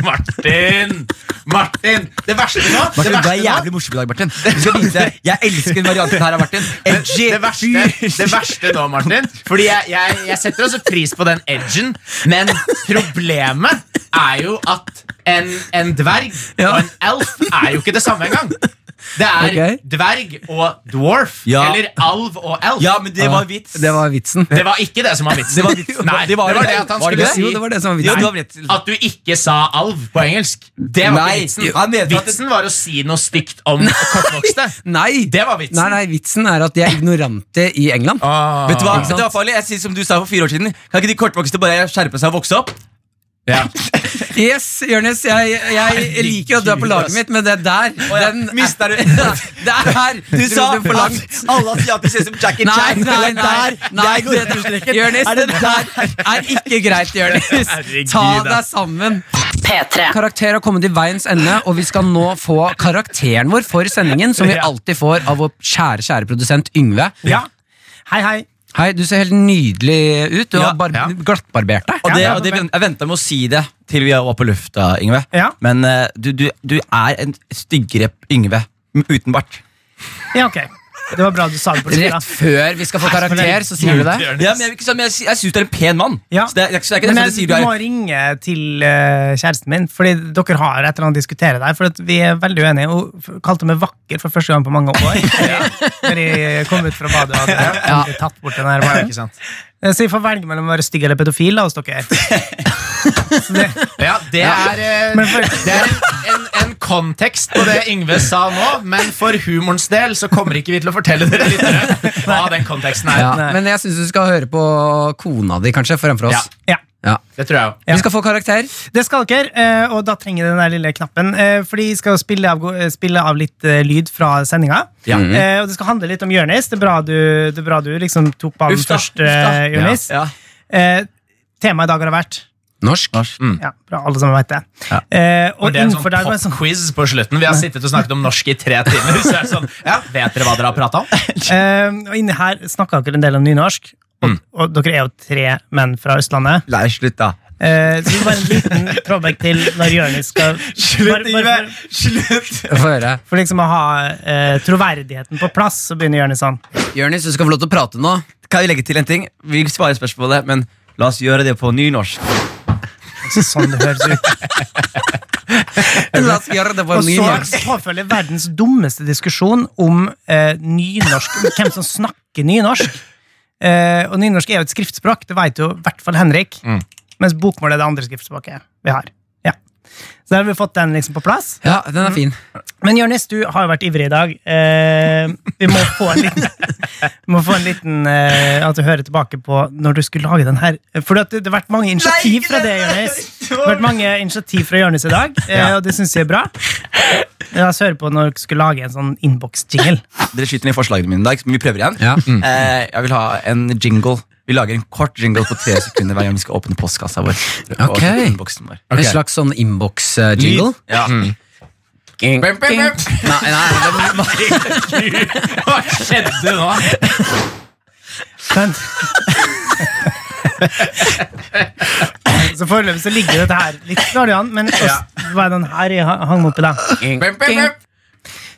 Martin! Martin! Det verste nå det
Martin, du er
verste nå
jævlig morsom i dag, Martin. Du skal vite, Jeg elsker den varianten her av
(laughs)
Martin. Edgy.
det verste, det verste nå, Martin Fordi jeg, jeg, jeg setter også pris på den edgen Men problemet er jo at en, en dverg og en elf er jo ikke det samme engang Det er
Ok.
dverg og dwarf
Ja.
Eller alv og elf
Ja, men det var vits.
(laughs) Det var vitsen.
Det var ikke det som var vitsen
Det var vitsen.
Nei, det
Det var
var,
det.
det at han
Var
skulle
det det?
si
Jo, det var det som var
Ja,
vitsen.
du har rett.
At du ikke sa alv på engelsk Det var
Nei,
ikke vitsen
han mente at det-
Vitsen var å si noe stygt om kortvokste
Nei.
Det var vitsen
Nei, nei, vitsen er at de er ignorante i England.
Ah.
Vet du hva?
Ikke sant?
Det var farlig. Jeg sier som du sa for fire år siden. Kan ikke de kortvokste bare skjerpe seg og vokse opp?
Ja.
Yes, Jonis, jeg, jeg liker at du er på laget mitt, men det der den,
Mister (laughs) du
(laughs) Det er her!
Du sa
det for
at
langt.
alle asiater ser ut som Jackie
Nei,
Chan.
nei,
Det
nei,
er der.
nei
Der går
det der, Jonis,
Er
det
det
der er ikke greit, Jonis.
Herregud,
Ta
da.
deg sammen.
P3.
Karakter har kommet til veiens ende, og vi skal nå få karakteren vår for sendingen, som vi
Ja.
alltid får av vår kjære, kjære produsent Yngve.
ja. Hei, hei
Hei, du ser helt nydelig ut. Du
Ja,
har bar
ja.
glattbarbert deg.
Og det,
Ja,
og det, jeg venta med å si det til vi var på lufta, Yngve.
Ja.
Men eh, du, du, du er en styggere Yngve uten bart.
Ja, ok. Det var bra du sa det på
Rett
slutten.
før vi skal få karakter, så sier du det.
Ja, men jeg, ikke sant, men jeg, sy- jeg syns du er en pen mann.
Ja.
Så det, er- det er ikke, det er ikke
Men
derfor
jeg, du
jeg sier du
må
er
ringe til eh, kjæresten min, Fordi dere har et eller annet å diskutere der. For at vi er veldig uenige. Hun f- kalte meg vakker for første gang på mange år. Når jeg kom ut fra badet og hadde endelig tatt bort den her
Ikke
varen.
sant?
Så vi får velge mellom å være stygg eller pedofil da, hos dere.
Ja, det er, eh,
Men for-
(laughs) det er en, en kontekst på det Yngve sa nå, men for humorens del så kommer ikke vi til å fortelle dere lyttere hva den konteksten er.
Ja,
Nei.
men jeg syns du skal høre på kona di, kanskje, fremfor oss.
Ja.
Ja.
Det tror jeg jo.
Vi skal få karakter.
Det skal dere, eh, og da trenger jeg den der lille knappen. eh, Fordi jeg skal jo spille av, go- eh, spille av litt eh, lyd fra sendinga.
Ja.
Mhm.
Eh, Og det skal handle litt om Jonis. Det er bra du, det er bra du liksom tok ballen
Uff da,
først,
uff da.
eh, Jonis.
Ja.
Eh, Temaet i dag har det vært
Norsk.
Ja, bra, alle sammen vet det. Eh, og
Og det er en
innenfor der var
sånn
en sånn
pop-quiz på slutten. Vi har sittet og snakket om norsk i tre timer. Så er det sånn, ja, Vet dere hva dere har prata om?
eh, Og inni her snakka dere en del om nynorsk. Og, og dere er jo tre menn fra Østlandet.
Nei, slutt, da.
Eh, så det var en liten trådbekk til når Jonis skal bare- bare for-
Slutt!
Få høre.
For liksom å ha eh, troverdigheten på plass, så begynner Jonis sånn.
Jonis, du skal få lov til å prate nå.
Kan vi legge til en ting? Vi svarer spørsmålet, men la oss gjøre det på (laughs) nynorsk.
Sånn det høres ut.
La oss gjøre det på
Og
ny norsk.
så påfølger verdens dummeste diskusjon om eh, nynorsk, om hvem som snakker nynorsk. Eh, og nynorsk er jo et skriftspråk, det vet jo i hvert fall Henrik. Mens bokmål er det andre skriftspråket vi har. Ja. Så da har vi fått den liksom på plass.
Ja, den
Mm.
er fin.
Men Jonis, du har jo vært ivrig i dag. Eh, vi må få en liten, (laughs) vi må få en liten eh, at du hører tilbake på når du skulle lage den her. For det, det har vært mange initiativ fra det, Jonis. Det har vært mange initiativ fra Jonis i dag, eh, og det syns jeg er bra. La oss høre på når dere skulle lage en sånn innboks-jingle.
Dere skyter ned forslagene mine i dag, men vi prøver igjen.
Ja. Mm.
Eh, jeg vil ha en jingle. Vi lager en kort jingle på tre sekunder hver gang vi skal åpne postkassa vår. Og
Ok.
innboksen vår.
En slags Mm. sånn innboks-jingle.
Ja.
Nei, nei, det må-
(laughs) Hva skjedde nå?
Men- Så foreløpig så ligger dette her litt dårlig an, men også, hva er den her jeg ha- hang meg oppi, da?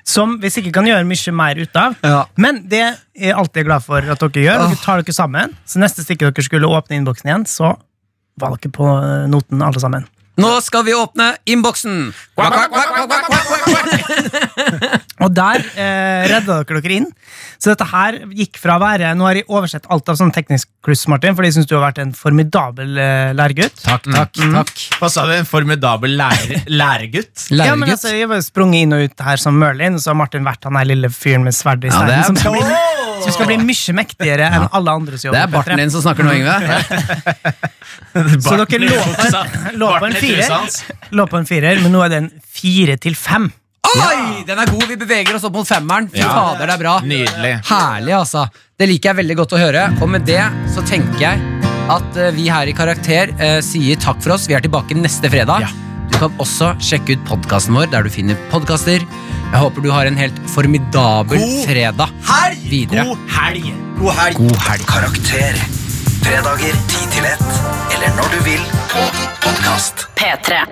som vi sikkert kan gjøre mye mer ut av.
Ja.
Men det er jeg alltid glad for at dere gjør. Dere tar dere sammen. Så neste stikke dere skulle åpne innboksen igjen, så var dere på eh, noten, alle sammen.
Nå skal vi åpne innboksen! Kvakk, kvakk, kvakk, kvakk, kvakk.
Og der eh, redda dere dere inn. Så dette her gikk fra å være Nå har jeg oversett alt av sånn teknisk kluss, Martin, fordi jeg syns du har vært en formidabel eh, læregutt.
Takk, takk, takk.
Mm. Hva sa du? En formidabel lærer, læregutt?
Ja, men
Læregutt.
altså, Jeg var jo sprunget inn og ut her som Merlin, og så har Martin vært han der lille fyren med sverdet i steinen
det er
som, skal bli- som skal bli mye mektigere enn alle andre som
Det er
jobber
barten din som snakker nå,
(laughs)
(laughs) Yngve.
Så dere lå på en, lå på en
Barten i trusa
firer,
hans.
lå på en firer, men nå er den fire til fem.
Oi, den er god! Vi beveger oss opp mot femmeren. Fy
Ja.
fader, det er bra.
Nydelig.
Herlig, altså. Det liker jeg veldig godt å høre. Og med det så tenker jeg at eh, vi her i Karakter eh, sier takk for oss. Vi er tilbake neste fredag.
Du kan også sjekke ut podkasten vår der du finner podkaster. Jeg håper du har en helt formidabel
God
fredag
Helg!
videre.
God helg! God helg.
God helg.
Karakter. Fredager 10 til 1, eller når du vil, på podkast.
P3.